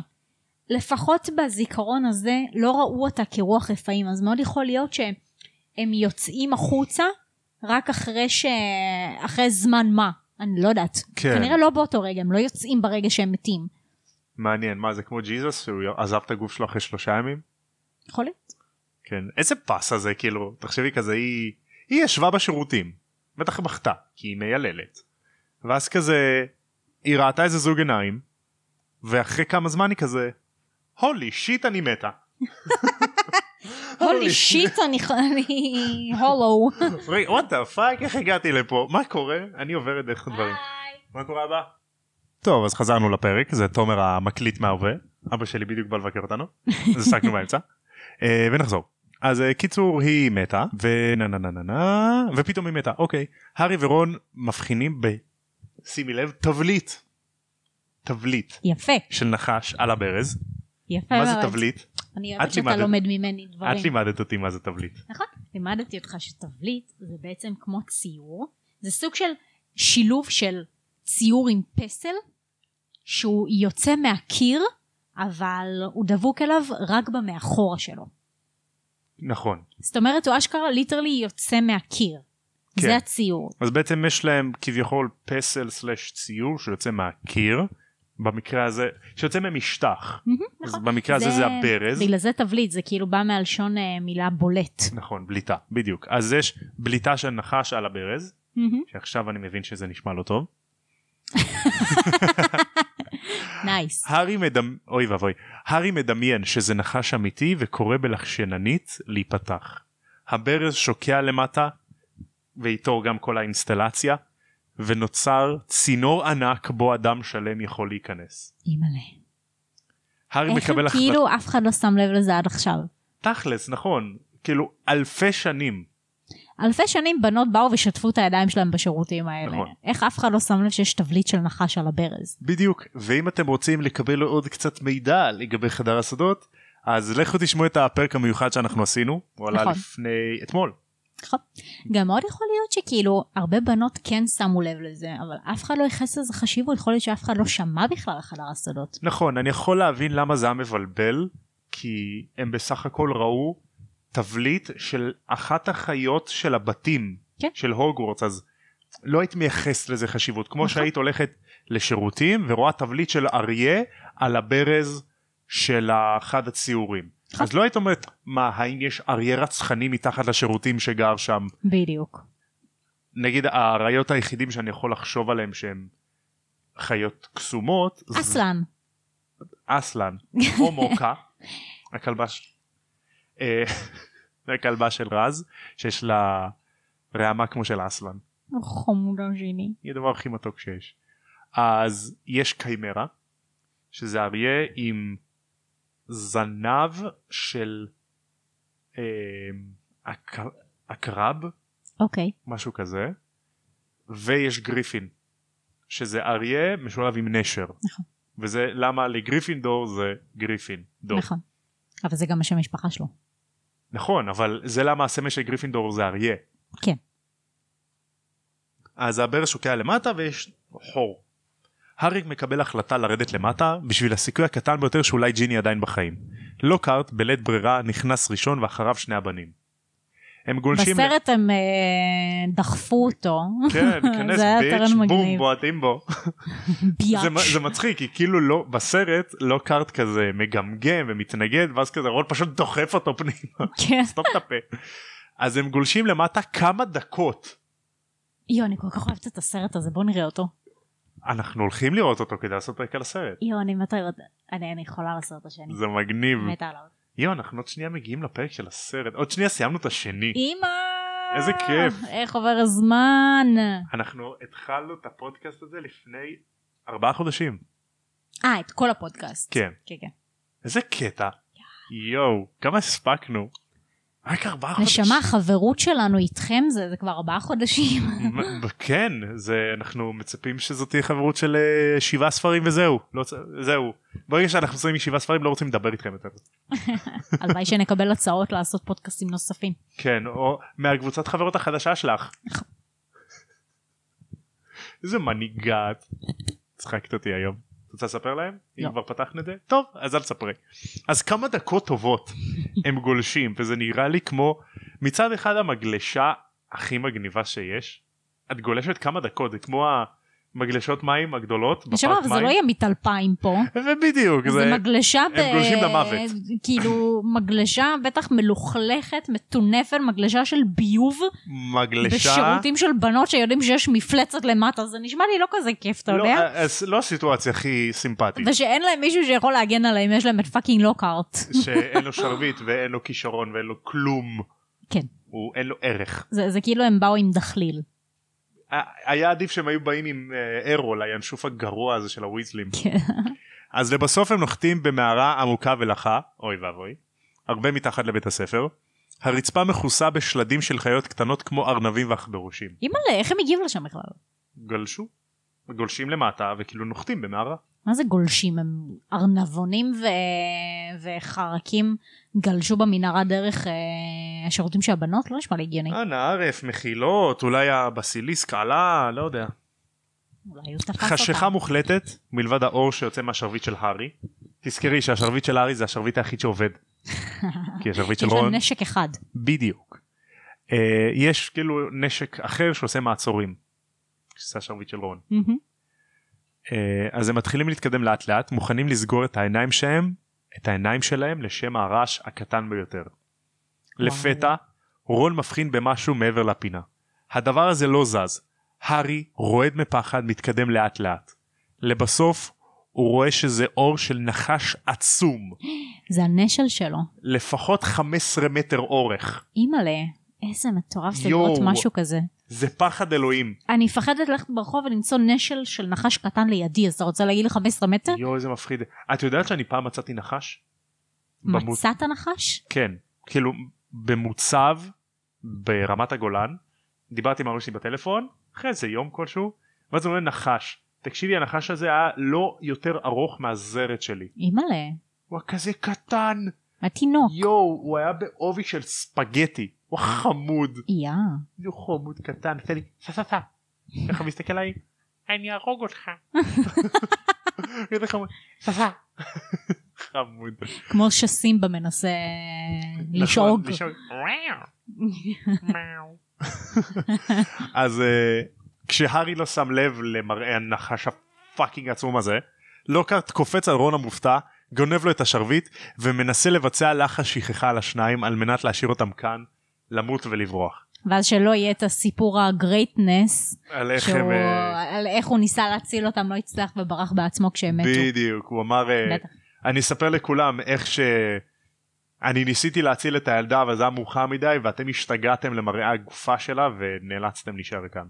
S2: לפחות בזיכרון הזה לא ראו אותה כרוח רפאים אז מאוד יכול להיות שהם יוצאים החוצה רק אחרי ש... אחרי זמן מה אני לא יודעת
S1: כן.
S2: כנראה לא באותו רגע הם לא יוצאים ברגע שהם מתים
S1: מעניין מה זה כמו ג'יזוס שהוא עזב את הגוף שלו אחרי שלושה ימים [laughs]
S2: יכול להיות?
S1: כן איזה פס הזה כאילו תחשבי כזה היא היא ישבה בשירותים בטח בכתה כי היא מייללת ואז כזה היא ראתה איזה זוג עיניים ואחרי כמה זמן היא כזה הולי שיט אני מתה [laughs]
S2: הולי שיט אני הולו.
S1: וואטה פאק איך הגעתי לפה מה קורה אני עוברת דרך הדברים מה קורה הבא? טוב אז חזרנו לפרק זה תומר [laughs] המקליט מההווה אבא שלי בדיוק בא לבקר אותנו אז הפסקנו באמצע אה, ונחזור אז אה, קיצור היא מתה ונה נה נה נה נה ופתאום היא מתה אוקיי הארי ורון מבחינים ב... שימי לב תבליט. תבליט
S2: [laughs] יפה,
S1: של נחש על הברז.
S2: יפה
S1: מה
S2: מאוד.
S1: זה תבליט?
S2: אני
S1: את
S2: אוהבת שאתה
S1: לימדת.
S2: לומד ממני דברים.
S1: את לימדת אותי מה זה תבליט.
S2: נכון, לימדתי אותך שתבליט זה בעצם כמו ציור, זה סוג של שילוב של ציור עם פסל, שהוא יוצא מהקיר, אבל הוא דבוק אליו רק במאחורה שלו.
S1: נכון.
S2: זאת אומרת, הוא אשכרה ליטרלי יוצא מהקיר.
S1: כן.
S2: זה הציור.
S1: אז בעצם יש להם כביכול פסל סלש ציור שיוצא מהקיר. במקרה הזה שיוצא ממשטח.
S2: מהמם,
S1: כן, אז
S2: נכון.
S1: במקרה הזה זה הברז.
S2: בגלל זה תבליט, זה כאילו בא מהלשון אה, מילה בולט.
S1: נכון בליטה בדיוק אז יש בליטה של נחש על הברז
S2: [laughs] מהמם,
S1: שעכשיו אני מבין שזה נשמע לא טוב.
S2: נייס.
S1: הארי מדמ... אוי ואבוי. הארי מדמיין שזה נחש אמיתי וקורא בלחשננית להיפתח. הברז שוקע למטה ואיתו גם כל האינסטלציה ונוצר צינור ענק בו אדם שלם יכול להיכנס.
S2: אימא'לה.
S1: הארי
S2: איך
S1: מקבל
S2: הם
S1: החלטה...
S2: כאילו אף אחד לא שם לב לזה עד עכשיו.
S1: תכלס נכון כאילו אלפי שנים
S2: אלפי שנים בנות באו ושטפו את הידיים שלהם בשירותים האלה.
S1: נכון.
S2: איך אף אחד לא שם לב שיש תבליט של נחש על הברז?
S1: בדיוק ואם אתם רוצים לקבל עוד קצת מידע לגבי חדר הסודות אז לכו תשמעו את הפרק המיוחד שאנחנו עשינו הוא עלה
S2: נכון.
S1: לפני אתמול
S2: נכון. גם מאוד יכול להיות שכאילו הרבה בנות כן שמו לב לזה, אבל אף אחד לא ייחס לזה חשיבות, יכול להיות שאף אחד לא שמע בכלל על חדר הסודות.
S1: נכון אני יכול להבין למה זה היה מבלבל כי הם בסך הכל ראו תבליט של אחת החיות של הבתים
S2: כן.
S1: של הוגוורטס אז לא היית מייחס לזה חשיבות כמו
S2: נכון.
S1: שהיית הולכת לשירותים ורואה תבליט של אריה על הברז של אחד הציורים.
S2: נכון.
S1: אז לא היית אומרת מה האם יש אריה רצחני מתחת לשירותים שגר שם
S2: בדיוק.
S1: נגיד האריות היחידים שאני יכול לחשוב עליהם שהם חיות קסומות זה-
S2: אסלן.
S1: אסלן או מוקה הכלבה ש- אה, [laughs] זה הכלבה של רז שיש לה רעמה כמו של אסלן
S2: הוא חמודה ג'יני.
S1: היא הדבר הכי מתוק שיש אז יש קיימרה שזה אריה עם זנב של אה, עק- עקרב
S2: אוקיי.
S1: משהו כזה ויש גריפין שזה אריה משולב עם נשר
S2: נכון.
S1: וזה למה לגריפינדור זה גריפין דור
S2: נכון. אבל זה גם השם המשפחה שלו.
S1: נכון אבל זה למה הסמל של גריפינדור זה אריה
S2: כן.
S1: אז הברז שוקע למטה ויש חור. הארי מקבל החלטה לרדת למטה בשביל הסיכוי הקטן ביותר שאולי ג'יני עדיין בחיים. לוקארט בלית ברירה נכנס ראשון ואחריו שני הבנים. הם גולשים...
S2: בסרט הם אה, דחפו אותו. [laughs]
S1: כן, כנס
S2: זה היה
S1: ביץ',
S2: טרן
S1: בום,
S2: מגניב.
S1: בועטים
S2: [laughs]
S1: בו.
S2: ביאץ'.
S1: זה, מ- זה מצחיק כי כאילו לא בסרט לא קארט כזה מגמגם ומתנגד ואז כזה רון פשוט דוחף אותו פנימה
S2: כן.
S1: סתום את הפה. אז הם גולשים למטה כמה דקות
S2: יואו, אני כל כך אוהבת את הסרט הזה, בוא נראה אותו.
S1: אנחנו הולכים לראות אותו כדי לעשות פרק על הסרט
S2: יואו, אני מתה לראות, אני, אני חולה על הסרט השני.
S1: זה מגניב
S2: מתה עליו.
S1: יואו אנחנו עוד שנייה מגיעים לפרק של הסרט עוד שנייה סיימנו את השני
S2: אימא!
S1: איזה כיף.
S2: איך עובר הזמן.
S1: אנחנו התחלנו את הפודקאסט הזה לפני ארבעה חודשים
S2: אה, את כל הפודקאסט.
S1: כן
S2: כן, כן.
S1: איזה קטע יואו כמה הספקנו רק ארבעה חודשים
S2: נשמה, החברות שלנו איתכם זה, זה כבר ארבעה
S1: [laughs]
S2: חודשים.
S1: מ- כן זה אנחנו מצפים שזאת תהיה חברות של אה, שבעה ספרים וזהו לא, צ- זהו ברגע שאנחנו שמים שבעה ספרים לא רוצים לדבר איתכם יותר
S2: הלוואי שנקבל הצעות לעשות פודקאסטים נוספים.
S1: כן או מהקבוצת חברות החדשה שלך איזה מנהיגה את צחקת אותי היום את רוצה לספר להם אם
S2: לא.
S1: כבר פתחנו את זה טוב אז אל תספרי אז כמה דקות טובות הם גולשים וזה נראה לי כמו מצד אחד המגלשה הכי מגניבה שיש את גולשת כמה דקות זה כמו המגלשות מים הגדולות
S2: נשמה,
S1: בפארק
S2: אבל זה
S1: מים.
S2: לא יהיה מיטלפיים פה.
S1: ובדיוק
S2: זה
S1: זה
S2: מגלשה ב...
S1: הם גולשים למוות.
S2: כאילו, מגלשה בטח מלוכלכת, מטונפת, מגלשה של ביוב.
S1: מגלשה
S2: בשירותים של בנות שיודעים שיש מפלצת למטה, זה נשמע לי לא כזה כיף, אתה
S1: לא, אה,
S2: יודע?
S1: אז לא הסיטואציה הכי סימפטית
S2: ושאין להם מישהו שיכול להגן עליהם, יש להם את פאקינג לוקארט.
S1: שאין לו שרביט ואין לו כישרון ואין לו כלום
S2: כן.
S1: הוא אין לו ערך
S2: זה, זה כאילו הם באו עם דחליל. [laughs]
S1: ה- היה עדיף שהם היו באים עם אה, ארול הינשוף הגרוע הזה של הוויזלים
S2: כן.
S1: אז לבסוף הם נוחתים במערה עמוקה ולחה אוי ואבוי הרבה מתחת לבית הספר הרצפה מכוסה בשלדים של חיות קטנות כמו ארנבים ועכברושים.
S2: אימא'לה, איך הם הגיעו לשם בכלל?
S1: גלשו. גולשים למטה וכאילו נוחתים במערה.
S2: מה זה גולשים? הם ארנבונים ו... וחרקים גלשו במנהרה דרך אה, השירותים של הבנות? לא נשמע לי הגיוני.
S1: אנא ערף, מחילות, אולי הבסיליסק עלה, לא יודע.
S2: אולי הוא תפס
S1: חשיכה
S2: אותם.
S1: מוחלטת מלבד האור שיוצא מהשרביט של הארי. תזכרי שהשרביט של הארי זה השרביט היחיד
S2: [laughs]
S1: שעובד. כי השרביט
S2: יש
S1: של
S2: להם
S1: רון
S2: נשק אחד.
S1: בדיוק. אה, יש כאילו נשק אחר שעושה מעצורים. שזה השרביט של רון.
S2: מהמם.
S1: אה, אז הם מתחילים להתקדם לאט לאט מוכנים לסגור את העיניים שלהם את העיניים שלהם לשם הרעש הקטן ביותר. לפתע רון מבחין במשהו מעבר לפינה. הדבר הזה לא זז. הארי רועד מפחד מתקדם לאט לאט. לבסוף הוא רואה שזה אור של נחש עצום
S2: זה הנשל שלו.
S1: לפחות 15 מטר אורך.
S2: אימא'לה, איזה מטורף זה
S1: יואו.
S2: לראות משהו כזה.
S1: זה פחד אלוהים.
S2: אני מפחדת ללכת ברחוב ולמצוא נשל של נחש קטן לידי, אז אתה רוצה להגיד לי 15 מטר?
S1: יואו איזה מפחיד. את יודעת שאני פעם מצאתי נחש? במו-
S2: מצאת נחש?
S1: כן, כאילו במוצב ברמת הגולן, דיברתי עם ההורים שלי בטלפון, אחרי איזה יום כלשהו, ואז הוא אומר נחש, תקשיבי הנחש הזה היה לא יותר ארוך מהזרת שלי,
S2: אימא'לה,
S1: הוא היה כזה קטן,
S2: התינוק.
S1: יואו, הוא היה בעובי של ספגטי, הוא היה חמוד,
S2: יא.
S1: הוא חמוד קטן, עושה לי סה סה סה, איך הוא מסתכל עליי, אני אהרוג אותך, איזה חמוד, סה סה, [laughs] חמוד,
S2: כמו שסימבה מנסה לשאוג.
S1: נכון, אז אה, כשהארי לא שם לב למראה הנחש הפאקינג עצום הזה, לוקארט קופץ על רון המופתע, גונב לו את השרביט ומנסה לבצע לחש שכחה על השניים על מנת להשאיר אותם כאן, למות ולברוח.
S2: ואז שלא יהיה את הסיפור הגרייטנס,
S1: על איך הם...
S2: שהוא-
S1: אה,
S2: על איך הוא ניסה להציל אותם, לא הצליח וברח בעצמו כשהם מתו.
S1: בדיוק, הוא אמר, אה,
S2: בטח.
S1: אני אספר לכולם איך ש... אני ניסיתי להציל את הילדה אבל זה היה מאוחר מדי ואתם השתגעתם למראה הגופה שלה ונאלצתם להישאר כאן.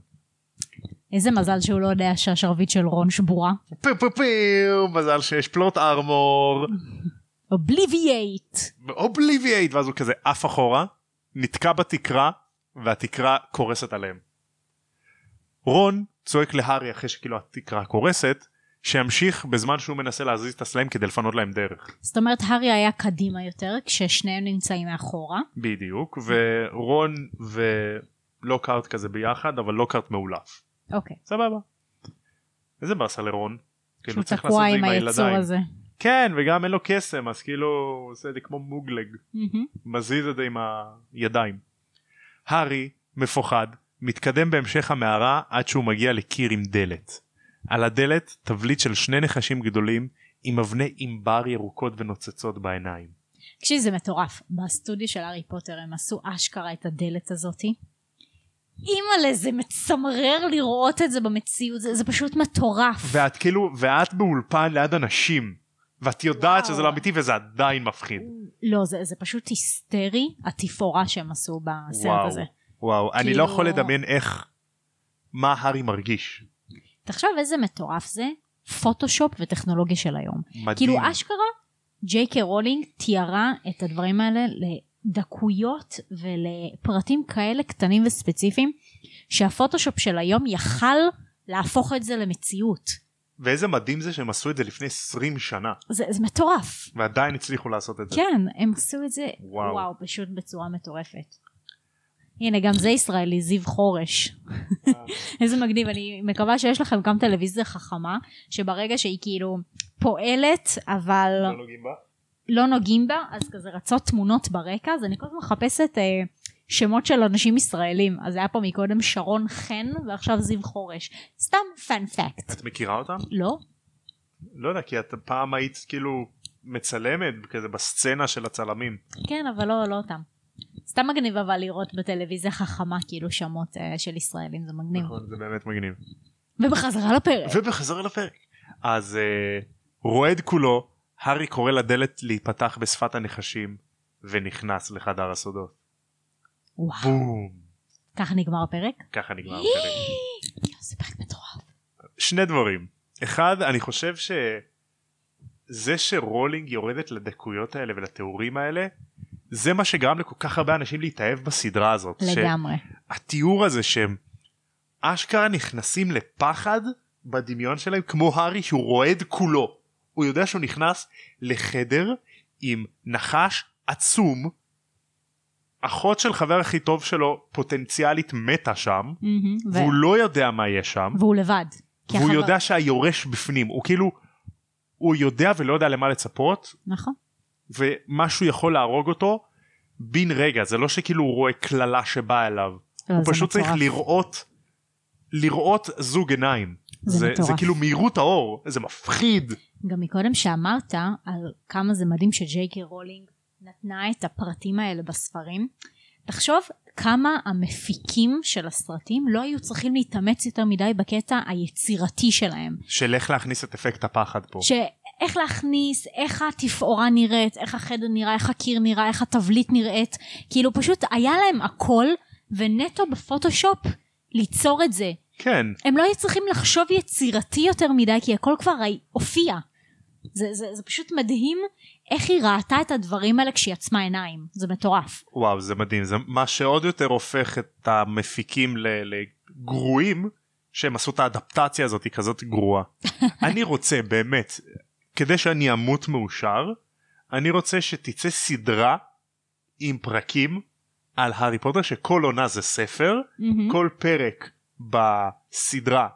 S2: איזה מזל שהוא לא יודע שהשרביט של רון שבורה.
S1: פו פו פו מזל שיש פלוט ארמור
S2: אובליבייט.
S1: אובליבייט ואז הוא כזה עף אחורה נתקע בתקרה והתקרה קורסת עליהם. רון צועק להארי אחרי שכאילו התקרה קורסת שימשיך בזמן שהוא מנסה להזיז את הסלעים כדי לפנות להם דרך
S2: זאת אומרת, הארי היה קדימה יותר, כששניהם נמצאים מאחורה.
S1: בדיוק ורון ולוקארט כזה ביחד אבל לוקארט מאולף
S2: אוקיי.
S1: סבבה. איזה באסה לרון.
S2: שהוא
S1: כאילו צריך לעשות
S2: תקוע
S1: את זה
S2: עם
S1: עם
S2: היצור
S1: הילדיים.
S2: הזה.
S1: כן וגם אין לו קסם אז כאילו הוא עושה את זה כמו מוגלג.
S2: מהמם.
S1: מזיז את זה עם הידיים. הארי, מפוחד, מתקדם בהמשך המערה עד שהוא מגיע לקיר עם דלת. על הדלת תבליט של שני נחשים גדולים עם אבני ענבר ירוקות ונוצצות בעיניים.
S2: תקשיב, זה מטורף. בסטודיו של הארי פוטר הם עשו אשכרה את הדלת הזאתי. אימא'לה, זה מצמרר לראות את זה במציאות, זה, זה פשוט מטורף.
S1: ואת כאילו, ואת באולפן ליד אנשים, ואת יודעת
S2: וואו.
S1: שזה לא אמיתי וזה עדיין מפחיד.
S2: לא, זה, זה פשוט היסטרי, התפאורה שהם עשו בסרט
S1: וואו,
S2: הזה.
S1: וואו, אני לא
S2: כאילו-
S1: יכול לדמיין איך, מה הארי מרגיש.
S2: תחשוב איזה מטורף זה, פוטושופ וטכנולוגיה של היום.
S1: מדהים.
S2: כאילו אשכרה, ג'יי קיי רולינג תיארה את הדברים האלה לדקויות ולפרטים כאלה קטנים וספציפיים, שהפוטושופ של היום יכל להפוך את זה למציאות.
S1: ואיזה מדהים זה שהם עשו את זה לפני 20 שנה,
S2: זה, זה מטורף.
S1: ועדיין הצליחו לעשות את זה.
S2: כן, הם עשו את זה,
S1: וואו.
S2: וואו, וואו פשוט בצורה מטורפת. הנה, גם זה ישראלי, זיו חורש.
S1: אה.
S2: איזה מגניב, אני מקווה שיש לכם גם טלוויזיה חכמה, שברגע שהיא כאילו פועלת, אבל
S1: לא נוגעים בה?
S2: לא נוגעים בה, אז כזה רצות תמונות ברקע, אז אני כל הזמן מחפשת אה, שמות של אנשים ישראלים. אז היה פה מקודם שרון חן, ועכשיו זיו חורש. סתם פאנפקט.
S1: את מכירה אותם?
S2: לא?
S1: לא יודע כי את פעם היית כאילו מצלמת כזה בסצנה של הצלמים
S2: כן, אבל לא, לא אותם. סתם מגניב אבל לראות בטלוויזיה חכמה כאילו שמות אה, של ישראלים, זה מגניב.
S1: נכון זה באמת מגניב
S2: ובחזרה לפרק.
S1: ובחזרה לפרק אז אה, רועד כולו הארי קורא לדלת להיפתח בשפת הנחשים ונכנס לחדר הסודות
S2: וואו,
S1: בום
S2: ככה נגמר הפרק?
S1: ככה נגמר הפרק
S2: יואו, זה פרק מטורף.
S1: שני דברים אחד אני חושב שזה שרולינג יורדת לדקויות האלה ולתיאורים האלה זה מה שגרם לכל כך הרבה אנשים להתאהב בסדרה הזאת.
S2: לגמרי.
S1: התיאור הזה שהם אשכרה נכנסים לפחד בדמיון שלהם כמו הארי שהוא רועד כולו. הוא יודע שהוא נכנס לחדר עם נחש עצום. אחות של חבר הכי טוב שלו פוטנציאלית מתה שם,
S2: מהמם. ו-
S1: והוא לא יודע מה יש שם,
S2: והוא לבד. כי
S1: והוא
S2: החבר-
S1: יודע שהיורש בפנים. הוא כאילו, הוא יודע ולא יודע למה לצפות,
S2: נכון.
S1: ומשהו יכול להרוג אותו בן רגע זה לא שכאילו הוא רואה קללה שבאה אליו
S2: לא,
S1: הוא
S2: זה
S1: פשוט צריך
S2: מטורף.
S1: לראות לראות זוג עיניים
S2: זה
S1: זה
S2: מטורף.
S1: כאילו מהירות האור זה מפחיד
S2: גם מקודם שאמרת על כמה זה מדהים שג'ייקי רולינג נתנה את הפרטים האלה בספרים, תחשוב כמה המפיקים של הסרטים לא היו צריכים להתאמץ יותר מדי בקטע היצירתי שלהם.
S1: של איך להכניס את אפקט הפחד פה
S2: שאיך להכניס, איך התפאורה נראית, איך החדר נראה, איך הקיר נראה, איך התבליט נראית, כאילו פשוט היה להם הכל, ונטו בפוטושופ ליצור את זה.
S1: כן
S2: הם לא היו צריכים לחשוב יצירתי יותר מדי, כי הכל כבר הי- הופיע. זה, זה, זה פשוט מדהים איך היא ראתה את הדברים האלה כשהיא עצמה עיניים, זה מטורף.
S1: וואו זה מדהים זה מה שעוד יותר הופך את המפיקים ל- לגרועים שהם עשו את האדפטציה הזאת היא כזאת
S2: [laughs]
S1: גרועה אני רוצה באמת כדי שאני אמות מאושר אני רוצה שתצא סדרה עם פרקים על הארי פוטר שכל עונה זה ספר
S2: Mm-hmm.
S1: כל פרק בסדרה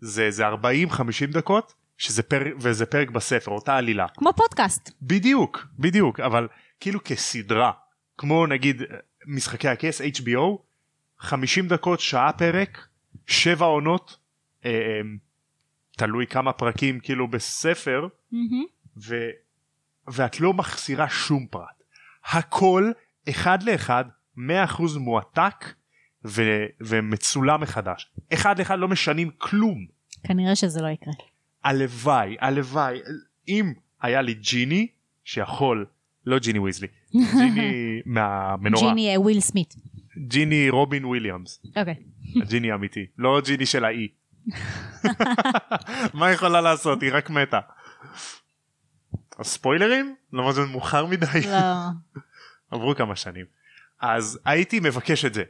S1: זה זה 40 50 דקות שזה פרק וזה פרק בספר אותה עלילה
S2: כמו פודקאסט.
S1: בדיוק בדיוק אבל כאילו כסדרה כמו נגיד אה, משחקי הכס HBO 50 דקות שעה פרק שבע עונות אה, אה, תלוי כמה פרקים כאילו בספר ו... ואת לא מחסירה שום פרט הכל אחד לאחד 100% מועתק ו... ומצולם מחדש אחד לאחד לא משנים כלום
S2: כנראה שזה לא יקרה.
S1: הלוואי, הלוואי, אם היה לי ג'יני שיכול, לא ג'יני ויזלי, ג'יני מהמנורה, ג'יני,
S2: ג'יני אה, וויל סמית.
S1: ג'יני רובין וויליאמס,
S2: אוקיי.
S1: הג'יני האמיתי, לא ג'יני של האי. מה היא יכולה לעשות? היא רק מתה. ספוילרים? למרות זה מאוחר מדי,
S2: לא.
S1: עברו כמה שנים. אז הייתי מבקש את זה,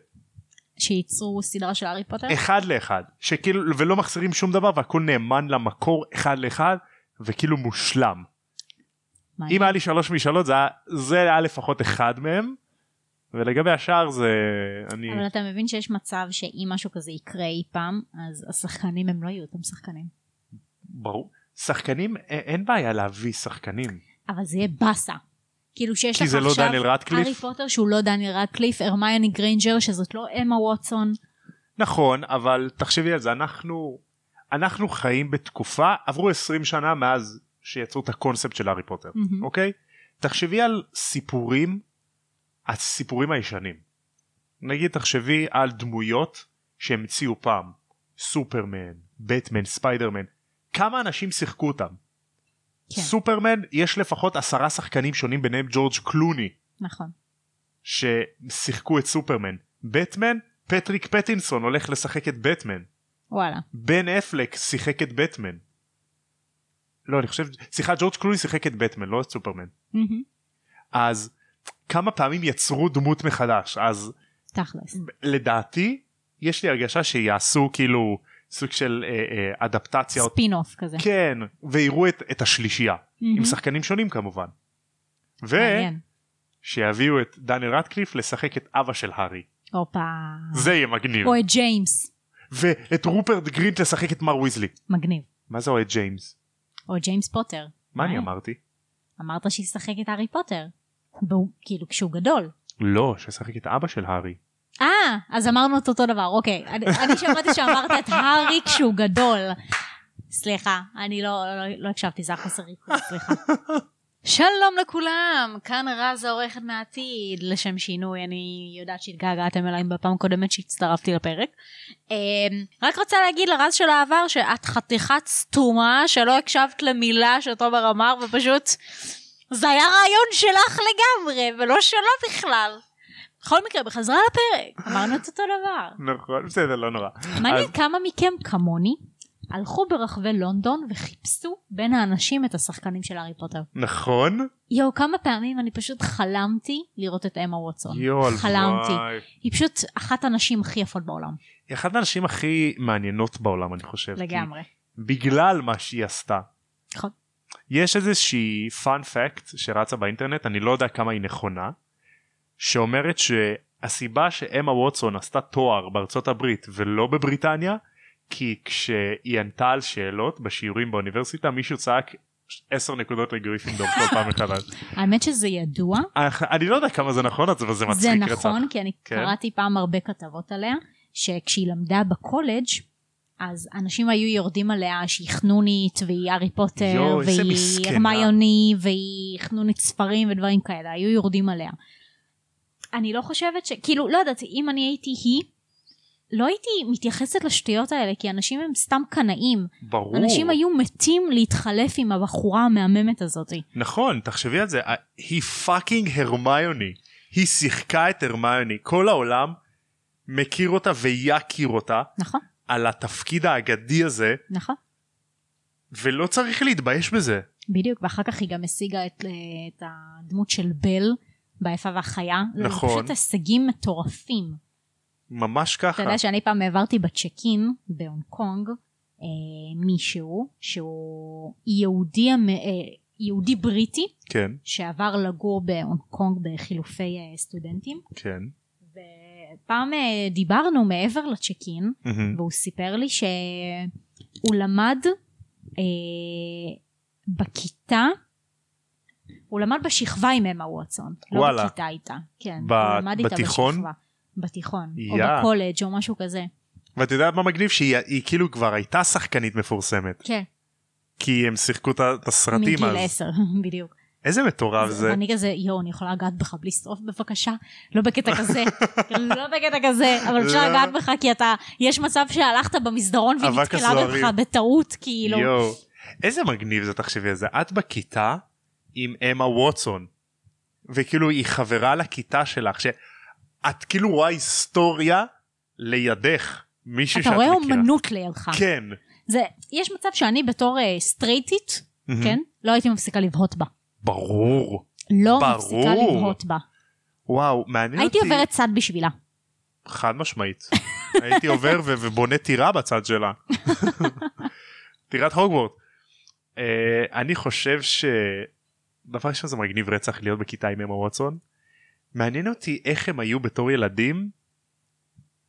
S2: שייצרו סדרה של הארי פוטר?
S1: אחד לאחד, שכאילו, ולא מחסירים שום דבר והכל נאמן למקור אחד לאחד, וכאילו מושלם.
S2: מה,
S1: אם היה לי שלוש משאלות זה היה, זה היה לפחות אחד מהם ולגבי השאר זה אני
S2: אבל אתה מבין שיש מצב שאם משהו כזה יקרה אי פעם, אז השחקנים הם לא יהיו אותם שחקנים.
S1: ברור שחקנים א- אין בעיה להביא שחקנים
S2: אבל זה יהיה באסה. כאילו שיש
S1: כי
S2: לך
S1: זה לא
S2: עכשיו
S1: דניאל
S2: הארי
S1: רטקליף
S2: פוטר שהוא לא דניאל רדקליף, הרמיוני גריינג'ר שזאת לא אמה ווטסון.
S1: נכון אבל תחשבי על זה אנחנו אנחנו חיים בתקופה עברו 20 שנה מאז שיצרו את הקונספט של הארי פוטר
S2: מהמם.
S1: אוקיי תחשבי על סיפורים הסיפורים הישנים נגיד תחשבי על דמויות שהמציאו פעם סופרמן בטמן ספיידרמן כמה אנשים שיחקו אותם אוקיי.
S2: כן,
S1: סופרמן יש לפחות עשרה שחקנים שונים ביניהם ג'ורג' קלוני
S2: נכון.
S1: ששיחקו את סופרמן בטמן פטריק פטינסון הולך לשחק את בטמן
S2: וואלה.
S1: בן אפלק שיחק את בטמן לא אני חושב סליחה ג'ורג' קלוני שיחק את בטמן לא את סופרמן
S2: מהמם.
S1: אז כמה פעמים יצרו דמות מחדש אז
S2: תכלס.
S1: לדעתי יש לי הרגשה שיעשו כאילו סוג של אה, אה, אדפטציה
S2: ספין אוף כזה.
S1: כן ויראו את, את השלישייה
S2: מהמם.
S1: עם שחקנים שונים כמובן. ו...
S2: מעניין.
S1: שיביאו את דניאל רטקליף לשחק את אבא של הארי.
S2: אה. הופה.
S1: זה כאילו. יהיה מגניב.
S2: או את ג'יימס.
S1: ואת רופרט גרינט לשחק את מר ויזלי.
S2: מגניב.
S1: מה זה אוהד ג'יימס?
S2: או ג'יימס פוטר.
S1: מה אני
S2: אה,
S1: אמרתי?
S2: אמרת שישחק את הארי פוטר. והוא- כאילו כשהוא גדול.
S1: לא, ששחק את אבא של הארי.
S2: אה, אז אמרנו את אותו דבר, אוקיי. אני אני שמעתי שאמרת את הארי כשהוא גדול. סליחה, אני לא, לא, לא הקשבתי, זה היה חוסר ריכוז, סליחה. שלום לכולם, כאן רז העורכת מהעתיד, לשם שינוי, אני יודעת שהתגעגעתם אליי בפעם הקודמת שהצטרפתי לפרק. אמ, רק רוצה להגיד לרז של העבר שאת חתיכת סתומה, שלא הקשבת למילה שתומר אמר, ופשוט זה היה רעיון שלך לגמרי, ולא שלו בכלל. בכל מקרה, בחזרה לפרק, אמרנו את אותו דבר.
S1: נכון, בסדר, לא נורא.
S2: מעניין כמה מכם כמוני הלכו ברחבי לונדון וחיפשו בין האנשים את השחקנים של הארי פוטר.
S1: נכון?
S2: יואו, כמה פעמים אני פשוט חלמתי לראות את אמה ווטסון.
S1: יואו, הלוואי.
S2: חלמתי. היא פשוט אחת הנשים הכי יפות בעולם,
S1: היא אחת הנשים הכי מעניינות בעולם אני חושב. כי
S2: לגמרי.
S1: בגלל מה שהיא עשתה.
S2: נכון.
S1: יש איזושהי פאנ פקט שרצה באינטרנט אני לא יודע כמה היא נכונה שאומרת שהסיבה שאמה ווטסון עשתה תואר בארצות הברית ולא בבריטניה כי כשהיא ענתה על שאלות בשיעורים באוניברסיטה מישהו צעק 10 נקודות לגריפינדור כל פעם מחדש.
S2: [laughs] האמת שזה ידוע,
S1: אני לא יודע כמה זה נכון אבל זה מצחיק
S2: זה
S1: רצח.
S2: נכון, כי אני
S1: כן.
S2: קראתי פעם הרבה כתבות עליה, שכשהיא למדה בקולג' אז אנשים היו יורדים עליה שהיא חנונית והיא הארי פוטר
S1: יואו, איזה
S2: והיא
S1: מסכנה.
S2: הרמיוני והיא חנונית ספרים ודברים כאלה, היו יורדים עליה. אני לא חושבת ש... כאילו, לא יודעת, אם אני הייתי היא, לא הייתי מתייחסת לשטויות האלה, כי אנשים הם סתם קנאים.
S1: ברור.
S2: אנשים היו מתים להתחלף עם הבחורה המהממת הזאת.
S1: נכון תחשבי על זה ה- היא פאקינג הרמיוני היא שיחקה את הרמיוני כל העולם מכיר אותה ויכיר אותה
S2: נכון,
S1: על התפקיד האגדי הזה
S2: נכון.
S1: ולא צריך להתבייש בזה
S2: בדיוק, ואחר כך היא גם השיגה את, אה, את הדמות של בל ביפה והחיה.
S1: נכון.
S2: זה פשוט הישגים מטורפים.
S1: ממש
S2: אתה
S1: ככה
S2: יודע שאני פעם העברתי בצ'ק אין בהונג קונג אה, מישהו שהוא יהודי, המ- אה, יהודי בריטי
S1: כן
S2: שעבר לגור בהונג קונג בחילופי אה, סטודנטים.
S1: כן
S2: ופעם אה, דיברנו מעבר לצ'ק אין
S1: מהמם.
S2: והוא סיפר לי שהוא למד אה, בכיתה, הוא למד בשכבה עם אמה ווטסון,
S1: וואלה.
S2: לא בכיתה איתה, כן,
S1: ב-
S2: הוא למד איתה
S1: בתיכון?
S2: בשכבה, בתיכון, או
S1: יא.
S2: בקולג' או משהו כזה,
S1: ואת יודעת מה מגניב שהיא היא כאילו כבר הייתה שחקנית מפורסמת
S2: כן,
S1: כי הם שיחקו את ה- את הסרטים
S2: מגיל
S1: אז
S2: עשר, [laughs] בדיוק,
S1: איזה מטורף זה
S2: אני כזה, יואו, אני יכולה לגעת בך בלי סוף בבקשה, לא בקטע
S1: [laughs]
S2: כזה, לא בקטע כזה, אבל אפשר
S1: לא.
S2: לגעת בך כי אתה, יש מצב שהלכת במסדרון והיא
S1: אבק
S2: נתקלה
S1: הסוהרים.
S2: בך בטעות, כאילו,
S1: יואו איזה מגניב זה תחשבי על זה את בכיתה עם אמה ווטסון וכאילו היא חברה לכיתה שלך שאת כאילו רואה היסטוריה לידך מישהו
S2: אתה
S1: שאת
S2: רואה
S1: מכירה.
S2: אומנות לידך.
S1: כן
S2: זה, יש מצב שאני בתור אה, סטרייטית, כן? לא הייתי מפסיקה לבהות בה.
S1: ברור
S2: לא
S1: ברור.
S2: מפסיקה לבהות בה.
S1: וואו מעניין
S2: הייתי
S1: אותי אוקיי.
S2: עוברת צד בשבילה.
S1: חד משמעית הייתי עובר ו- ובונה טירה בצד שלה טירת הוגוורט. Uh, אני חושב שדבר ראשון זה מגניב רצח להיות בכיתה עם אמה ווטסון. מעניין אותי איך הם היו בתור ילדים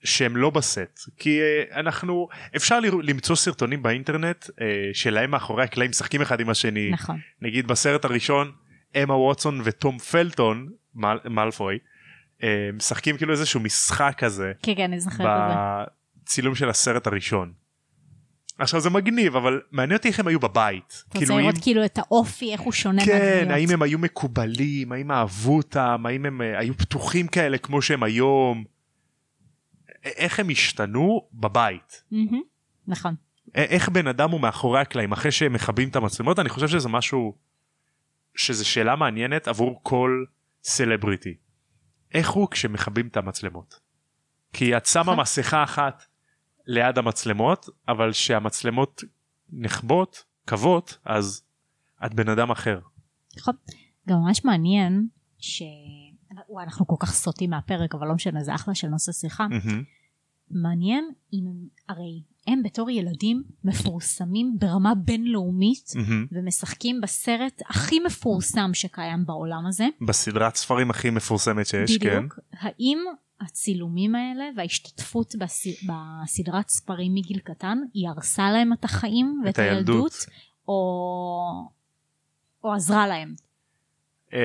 S1: שהם לא בסט כי uh, אנחנו אפשר לרא- למצוא סרטונים באינטרנט uh, שלהם מאחורי הקלעים משחקים אחד עם השני
S2: נכון.
S1: נגיד בסרט הראשון אמה ווטסון וטום פלטון מל, מלפוי אה, משחקים כאילו איזשהו משחק כזה
S2: כן, כן, אני זוכרת את זה.
S1: בצילום של הסרט הראשון. עכשיו זה מגניב אבל מעניין אותי איך הם היו בבית.
S2: אתה רוצה לראות כאילו את האופי, איך הוא שונה
S1: כן,
S2: מהדמויות.
S1: האם הם היו מקובלים, האם אהבו אותם, האם הם אה, היו פתוחים כאלה כמו שהם היום. א- איך הם השתנו בבית.
S2: מהמם. נכון.
S1: א- איך בן אדם הוא מאחורי הקלעים אחרי שהם מכבים את המצלמות אני חושב שזה משהו שזה שאלה מעניינת עבור כל סלבריטי. איך הוא כשמכבים את המצלמות. כי את שמה [laughs]
S2: נכון.
S1: מסכה אחת ליד המצלמות אבל שהמצלמות נחבות כבות אז את בן אדם אחר.
S2: נכון. גם ממש מעניין ש... וואי, אנחנו כל כך סוטים מהפרק, אבל לא משנה, זה אחלה של נושא
S1: [laughs]
S2: שיחה.
S1: מהמם.
S2: מעניין אם הם, הרי הם בתור ילדים מפורסמים ברמה בינלאומית,
S1: מהמם.
S2: ומשחקים בסרט הכי מפורסם שקיים בעולם הזה.
S1: בסדרת ספרים הכי מפורסמת שיש כן.
S2: בדיוק. האם הצילומים האלה וההשתתפות בס- בסדרת ספרים מגיל קטן, היא הרסה להם את החיים ואת הילדות, או... או עזרה להם?
S1: אמ,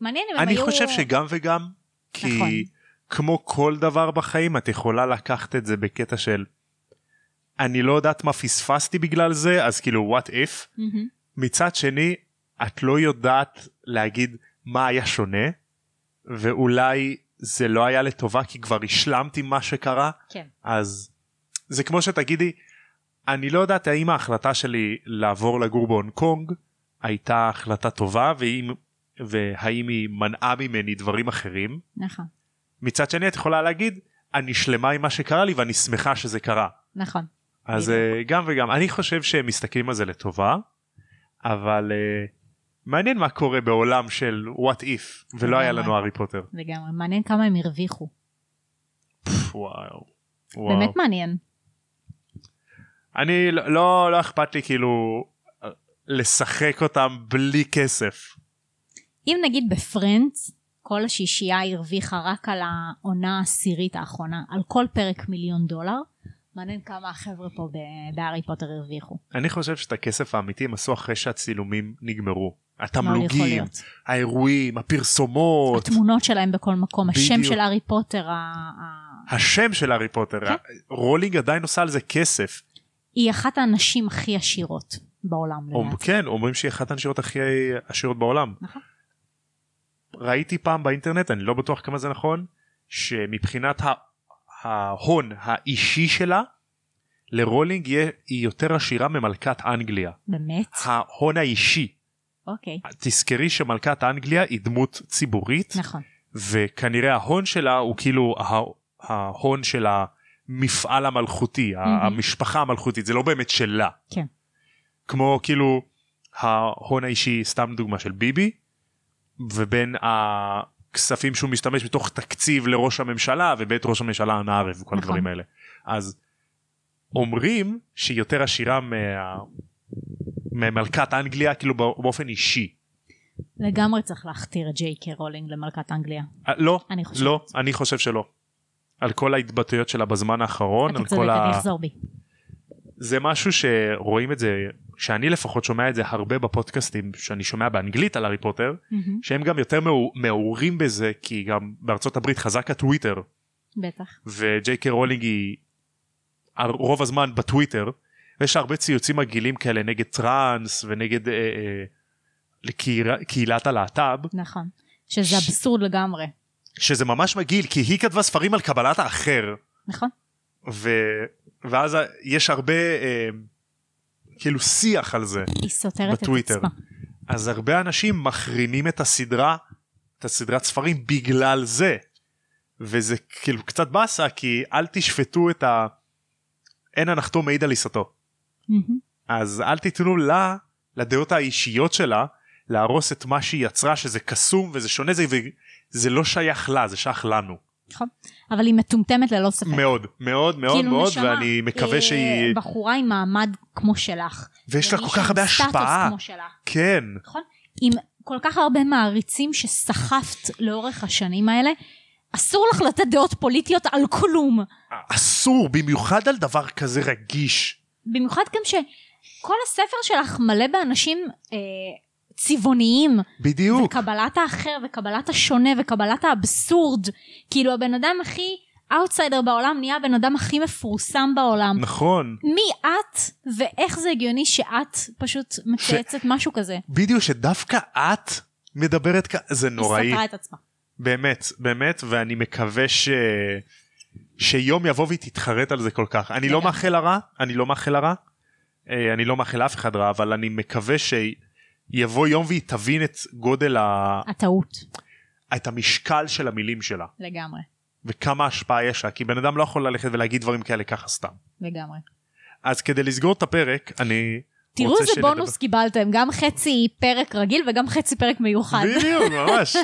S2: מעניין אם הם
S1: אני
S2: היו...
S1: חושב שגם וגם כי
S2: נכון.
S1: כמו כל דבר בחיים את יכולה לקחת את זה בקטע של אני לא יודעת מה פספסתי בגלל זה אז כאילו what if
S2: מהמם.
S1: מצד שני את לא יודעת להגיד מה היה שונה ואולי זה לא היה לטובה כי כבר השלמתי מה שקרה
S2: כן.
S1: אז זה כמו שתגידי אני לא יודעת האם ההחלטה שלי לעבור לגור בהונג קונג הייתה החלטה טובה והאם, והאם היא מנעה ממני דברים אחרים
S2: נכון,
S1: מצד שני את יכולה להגיד אני שלמה עם מה שקרה לי ואני שמחה שזה קרה
S2: נכון.
S1: אז אה, גם וגם אני חושב שהם מסתכלים על זה לטובה אבל אה, מעניין מה קורה בעולם של what if ולא היה לנו הארי פוטר.
S2: לגמרי. מעניין כמה הם הרוויחו.
S1: פפ, וואו. וואו.
S2: באמת מעניין.
S1: אני לא- לא לא אכפת לי כאילו אה, לשחק אותם בלי כסף.
S2: אם נגיד בפרנדס, כל השישייה הרוויחה רק על העונה העשירית האחרונה, על כל פרק מיליון דולר, מעניין כמה החבר'ה פה ב- בהארי פוטר הרוויחו.
S1: אני חושב שאת הכסף האמיתי הם עשו אחרי שהצילומים נגמרו.
S2: מאוד יכול
S1: התמלוגים,
S2: להיות.
S1: האירועים, הפרסומות,
S2: התמונות שלהם בכל מקום, השם
S1: בדיוק.
S2: של הארי פוטר, ה- ה-
S1: השם של הארי פוטר,
S2: כן.
S1: רולינג עדיין עושה על זה כסף.
S2: היא אחת הנשים הכי עשירות בעולם
S1: או-
S2: לדעתי.
S1: כן, אומרים שהיא אחת הנשירות הכי עשירות בעולם.
S2: נכון.
S1: ראיתי פעם באינטרנט, אני לא בטוח כמה זה נכון, שמבחינת ה- ההון האישי שלה, לרולינג יהיה- היא יותר עשירה ממלכת אנגליה.
S2: באמת?
S1: ההון האישי.
S2: אוקיי.
S1: תזכרי שמלכת אנגליה היא דמות ציבורית,
S2: נכון.
S1: וכנראה ההון שלה הוא כאילו ה- ההון של המפעל המלכותי, ה-
S2: מהמם.
S1: המשפחה המלכותית, זה לא באמת שלה.
S2: כן.
S1: כמו כאילו ההון האישי, סתם דוגמה של ביבי, ובין הכספים שהוא משתמש בתוך תקציב לראש הממשלה ובית ראש הממשלה הנערב וכל
S2: נכון.
S1: הדברים האלה. אז אומרים שהיא יותר עשירה מה... ממלכת אנגליה כאילו בא- באופן אישי.
S2: לגמרי צריך להכתיר את ג'יי קי רולינג למלכת אנגליה.
S1: אה, לא,
S2: אני חושבת.
S1: לא, אני חושב שלא. על כל ההתבטאויות שלה בזמן האחרון, על
S2: אתה צודק,
S1: כל ה...
S2: אני אחזור בי.
S1: זה משהו שרואים את זה, שאני לפחות שומע את זה הרבה בפודקאסטים שאני שומע באנגלית על הארי פוטר,
S2: מהמם,
S1: שהם גם יותר מעו- מעורים בזה, כי גם בארצות הברית חזק הטוויטר,
S2: בטח.
S1: וג'יי קיי רולינג היא הר- רוב הזמן בטוויטר, ויש לה הרבה ציוצים מגעילים כאלה נגד טראנס ונגד אה, אה, קהילה- קהילת הלהט"ב,
S2: נכון. שזה אבסורד לגמרי.
S1: שזה ממש מגעיל, כי היא כתבה ספרים על קבלת האחר.
S2: נכון?
S1: ו... ואז יש הרבה אה, כאילו שיח על זה
S2: היא סותרת את
S1: בטוויטר.
S2: עצמה.
S1: אז הרבה אנשים מחרימים את הסדרה את הסדרת ספרים בגלל זה וזה כאילו קצת באסה כי אל תשפטו את ה... אין הנחתו מעיד על עיסתו
S2: מהמם,
S1: אז אל תיתנו לה לדעות האישיות שלה להרוס את מה שהיא יצרה שזה קסום וזה שונה זה וזה לא שייך לה זה שייך לנו
S2: נכון. אבל היא מטומטמת ללא ספק.
S1: מאוד מאוד מאוד
S2: כאילו,
S1: מאוד
S2: נשמה,
S1: ואני מקווה
S2: אה,
S1: שהיא
S2: בחורה עם מעמד כמו שלך.
S1: ויש לה כל
S2: ומישהו
S1: כך הרבה
S2: עם סטטוס
S1: השפעה
S2: כמו שלך,
S1: כן
S2: נכון? עם כל כך הרבה מעריצים שסחפת לאורך השנים האלה, אסור לך לתת דעות פוליטיות על כלום.
S1: אסור במיוחד על דבר כזה רגיש
S2: במיוחד גם שכל הספר שלך מלא באנשים אה, צבעוניים,
S1: בדיוק
S2: וקבלת האחר וקבלת השונה וקבלת האבסורד. כאילו הבן אדם הכי אאוטסיידר בעולם נהיה הבן אדם הכי מפורסם בעולם.
S1: נכון
S2: מי את ואיך זה הגיוני שאת פשוט מצייצת משהו כזה.
S1: בדיוק שדווקא את מדברת כ... זה נוראי
S2: היא סתרה את עצמה.
S1: באמת באמת ואני מקווה ש... שיום יבוא והיא תתחרט על זה כל כך אני לא
S2: לגמרי.
S1: מאחל לה רע אני לא מאחל לה רע אה, אני לא מאחל לאף אחד רע אבל אני מקווה שיבוא יום והיא תבין את גודל ה...
S2: הטעות.
S1: את המשקל של המילים שלה
S2: לגמרי.
S1: וכמה השפעה יש לה כי בן אדם לא יכול ללכת ולהגיד דברים כאלה ככה סתם
S2: לגמרי.
S1: אז כדי לסגור את הפרק אני
S2: תראו
S1: רוצה
S2: איזה
S1: שנדבר-
S2: בונוס קיבלתם, גם חצי פרק רגיל וגם חצי פרק מיוחד.
S1: בדיוק
S2: [laughs]
S1: ממש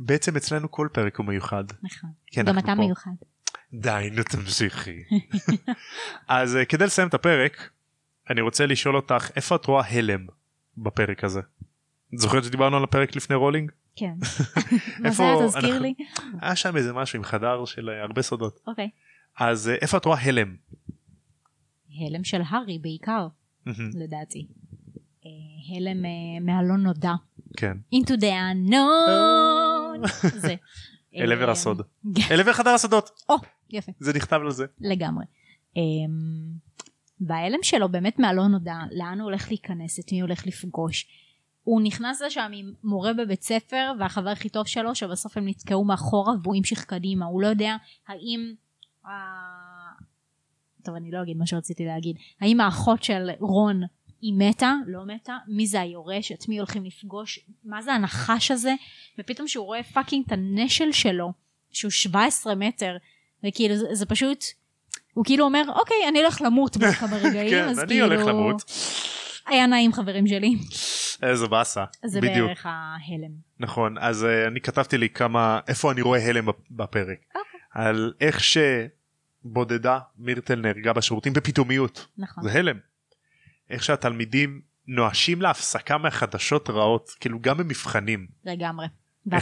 S1: בעצם אצלנו כל פרק הוא מיוחד
S2: נכון.
S1: כי
S2: גם
S1: כן, אנחנו
S2: אתה
S1: פה.
S2: מיוחד.
S1: די נו
S2: [laughs]
S1: תמשיכי אז אה, כדי לסיים את הפרק אני רוצה לשאול אותך איפה את רואה הלם בפרק הזה. את זוכרת שדיברנו על הפרק לפני רולינג? [laughs]
S2: כן. מה זה
S1: איפה
S2: היה? תזכיר
S1: אנחנו-
S2: לי.
S1: היה שם איזה משהו עם חדר של אה, הרבה סודות.
S2: אוקיי.
S1: אז אה, איפה את רואה הלם?
S2: הלם של הארי בעיקר,
S1: מהמם,
S2: לדעתי. אה, הלם אה, מהלא נודע.
S1: כן.
S2: into the unknown. [laughs] זה.
S1: אה. אל עבר הסוד.
S2: כן.
S1: אל עבר חדר הסודות
S2: או, [laughs] יפה,
S1: זה נכתב על זה.
S2: לגמרי. אמ, וההלם שלו באמת מהלא נודע, לאן הוא הולך להיכנס, את מי הוא הולך לפגוש. הוא נכנס לשם עם מורה בבית ספר והחבר הכי טוב שלו, שבסוף הם נתקעו מאחורה והוא המשיך קדימה, הוא לא יודע האם... ה- טוב, אני לא אגיד מה שרציתי להגיד. האם האחות של רון היא מתה? לא מתה? מי זה היורש? את מי הולכים לפגוש? מה זה הנחש הזה? ופתאום שהוא רואה פאקינג את הנשל שלו, שהוא 17 מטר, וכאילו זה, זה פשוט הוא כאילו אומר, אוקיי, אני הולך למות בעוד
S1: [laughs]
S2: כמה רגעים,
S1: כן,
S2: אז
S1: אני
S2: כאילו...
S1: הולך למות.
S2: היה נעים חברים שלי.
S1: איזה באסה.
S2: זה
S1: בדיוק.
S2: בערך ההלם.
S1: נכון, אז אה, אני כתבתי לי כמה, איפה אני רואה הלם בפ- בפרק.
S2: אוקיי.
S1: על איך שבודדה מירטל נהרגה בשירותים בפתאומיות.
S2: נכון.
S1: זה הלם. איך שהתלמידים נואשים להפסקה מהחדשות רעות, כאילו גם במבחנים.
S2: לגמרי.
S1: איך-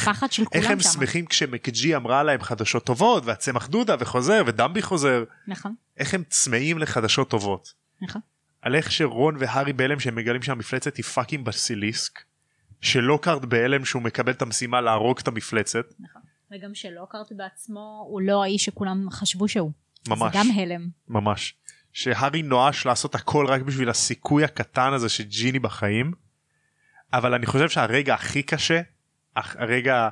S2: והפחד של
S1: איך
S2: כולם
S1: הם
S2: שם.
S1: שמחים כשמקג'י אמרה להם חדשות טובות, והצמח דודה וחוזר, ודמבי חוזר.
S2: נכון.
S1: איך הם צמאים לחדשות טובות.
S2: נכון.
S1: על איך שרון והארי בהלם שהם מגלים שהמפלצת היא פאקינג בסיליסק. שלוקארד בהלם שהוא מקבל את המשימה להרוג את המפלצת.
S2: נכון. וגם שלוקארט בעצמו הוא לא האיש שכולם חשבו שהוא.
S1: ממש.
S2: זה גם הלם.
S1: ממש. שהארי נואש לעשות הכל רק בשביל הסיכוי הקטן הזה שג'יני בחיים. אבל אני חושב שהרגע הכי קשה, הח- הרגע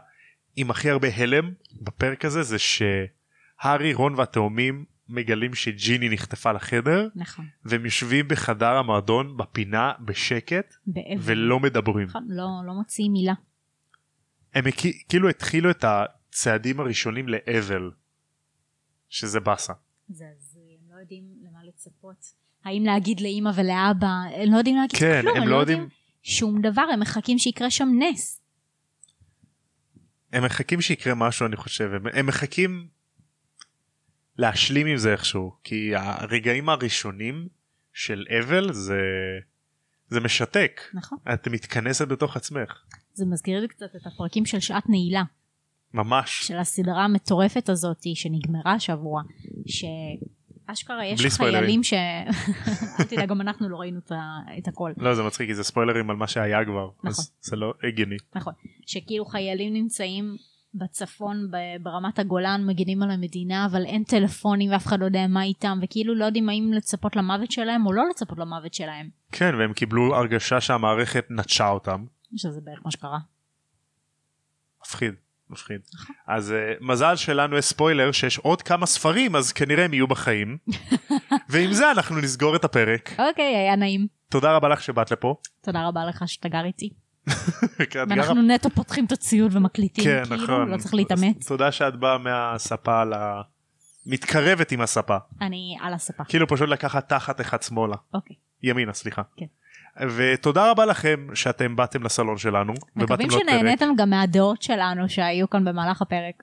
S1: עם הכי הרבה הלם בפרק הזה, זה שהארי, רון והתאומים מגלים שג'יני נחטפה לחדר,
S2: נכון.
S1: והם יושבים בחדר המועדון בפינה בשקט,
S2: באבל.
S1: ולא מדברים.
S2: נכון, לא, לא מוציאים מילה.
S1: הם הכי- כאילו התחילו את הצעדים הראשונים לאבל, שזה באסה.
S2: זה אז הם לא יודעים למה לצפות. האם להגיד לאימא ולאבא, הם לא יודעים להגיד
S1: כן,
S2: כלום,
S1: הם לא יודעים,
S2: שום דבר, הם מחכים שיקרה שם נס.
S1: הם מחכים שיקרה משהו אני חושב הם, הם מחכים להשלים עם זה איכשהו כי הרגעים הראשונים של אבל זה זה משתק
S2: נכון.
S1: את מתכנסת בתוך עצמך
S2: זה מזכיר לי קצת את הפרקים של שעת נעילה,
S1: ממש
S2: של הסדרה המטורפת הזאת שנגמרה השבוע, שאשכרה יש
S1: בלי ספוילרים.
S2: חיילים ש... [laughs] אל תדאג, גם אנחנו לא ראינו את ה- את הכל.
S1: לא זה מצחיק כי זה ספוילרים על מה שהיה כבר אז זה לא הגיוני
S2: נכון. שכאילו חיילים נמצאים בצפון, ב- ברמת הגולן, מגינים על המדינה, אבל אין טלפונים ואף אחד לא יודע מה איתם, וכאילו לא יודעים האם לצפות למוות שלהם או לא לצפות למוות שלהם.
S1: כן והם קיבלו הרגשה שהמערכת נטשה אותם
S2: שזה בערך מה שקרה.
S1: מפחיד מפחיד
S2: נכון.
S1: אז uh, מזל שלנו יש ספוילר שיש עוד כמה ספרים אז כנראה הם יהיו בחיים ועם זה אנחנו נסגור את הפרק
S2: אוקיי, היה נעים.
S1: תודה רבה לך שבאת לפה.
S2: תודה רבה לך שאתה גר איתי.
S1: את גרה-
S2: ואנחנו נטו פותחים את הציוד ומקליטים,
S1: כן,
S2: כאילו,
S1: נכון.
S2: לא צריך להתאמץ.
S1: אז תודה שאת באה מהספה ל... מתקרבת עם הספה.
S2: אני על הספה.
S1: כאילו פשוט לקחת תחת אחד שמאלה.
S2: אוקיי.
S1: ימינה, סליחה.
S2: כן.
S1: ותודה רבה לכם שאתם באתם לסלון שלנו. ובאתם
S2: מקווים
S1: לעוד פרק.
S2: שנהניתם גם מהדעות שלנו שהיו כאן במהלך הפרק.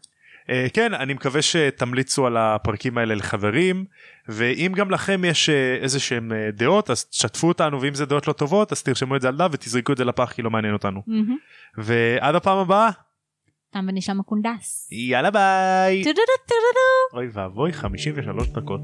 S1: אה, כן, אני מקווה שתמליצו על הפרקים האלה לחברים, ואם גם לכם יש אה, איזה שהם אה, דעות, אז תשתפו אותנו, ואם זה דעות לא טובות, אז תרשמו את זה על דף ותזרקו את זה לפח, כי לא מעניין אותנו.
S2: מהמם.
S1: ועד הפעם הבאה,
S2: תם ונשם הקונדס.
S1: יאללה ביי.
S2: טו-דו-דו, טו-דו-דו.
S1: אוי ואבוי, 53 דקות.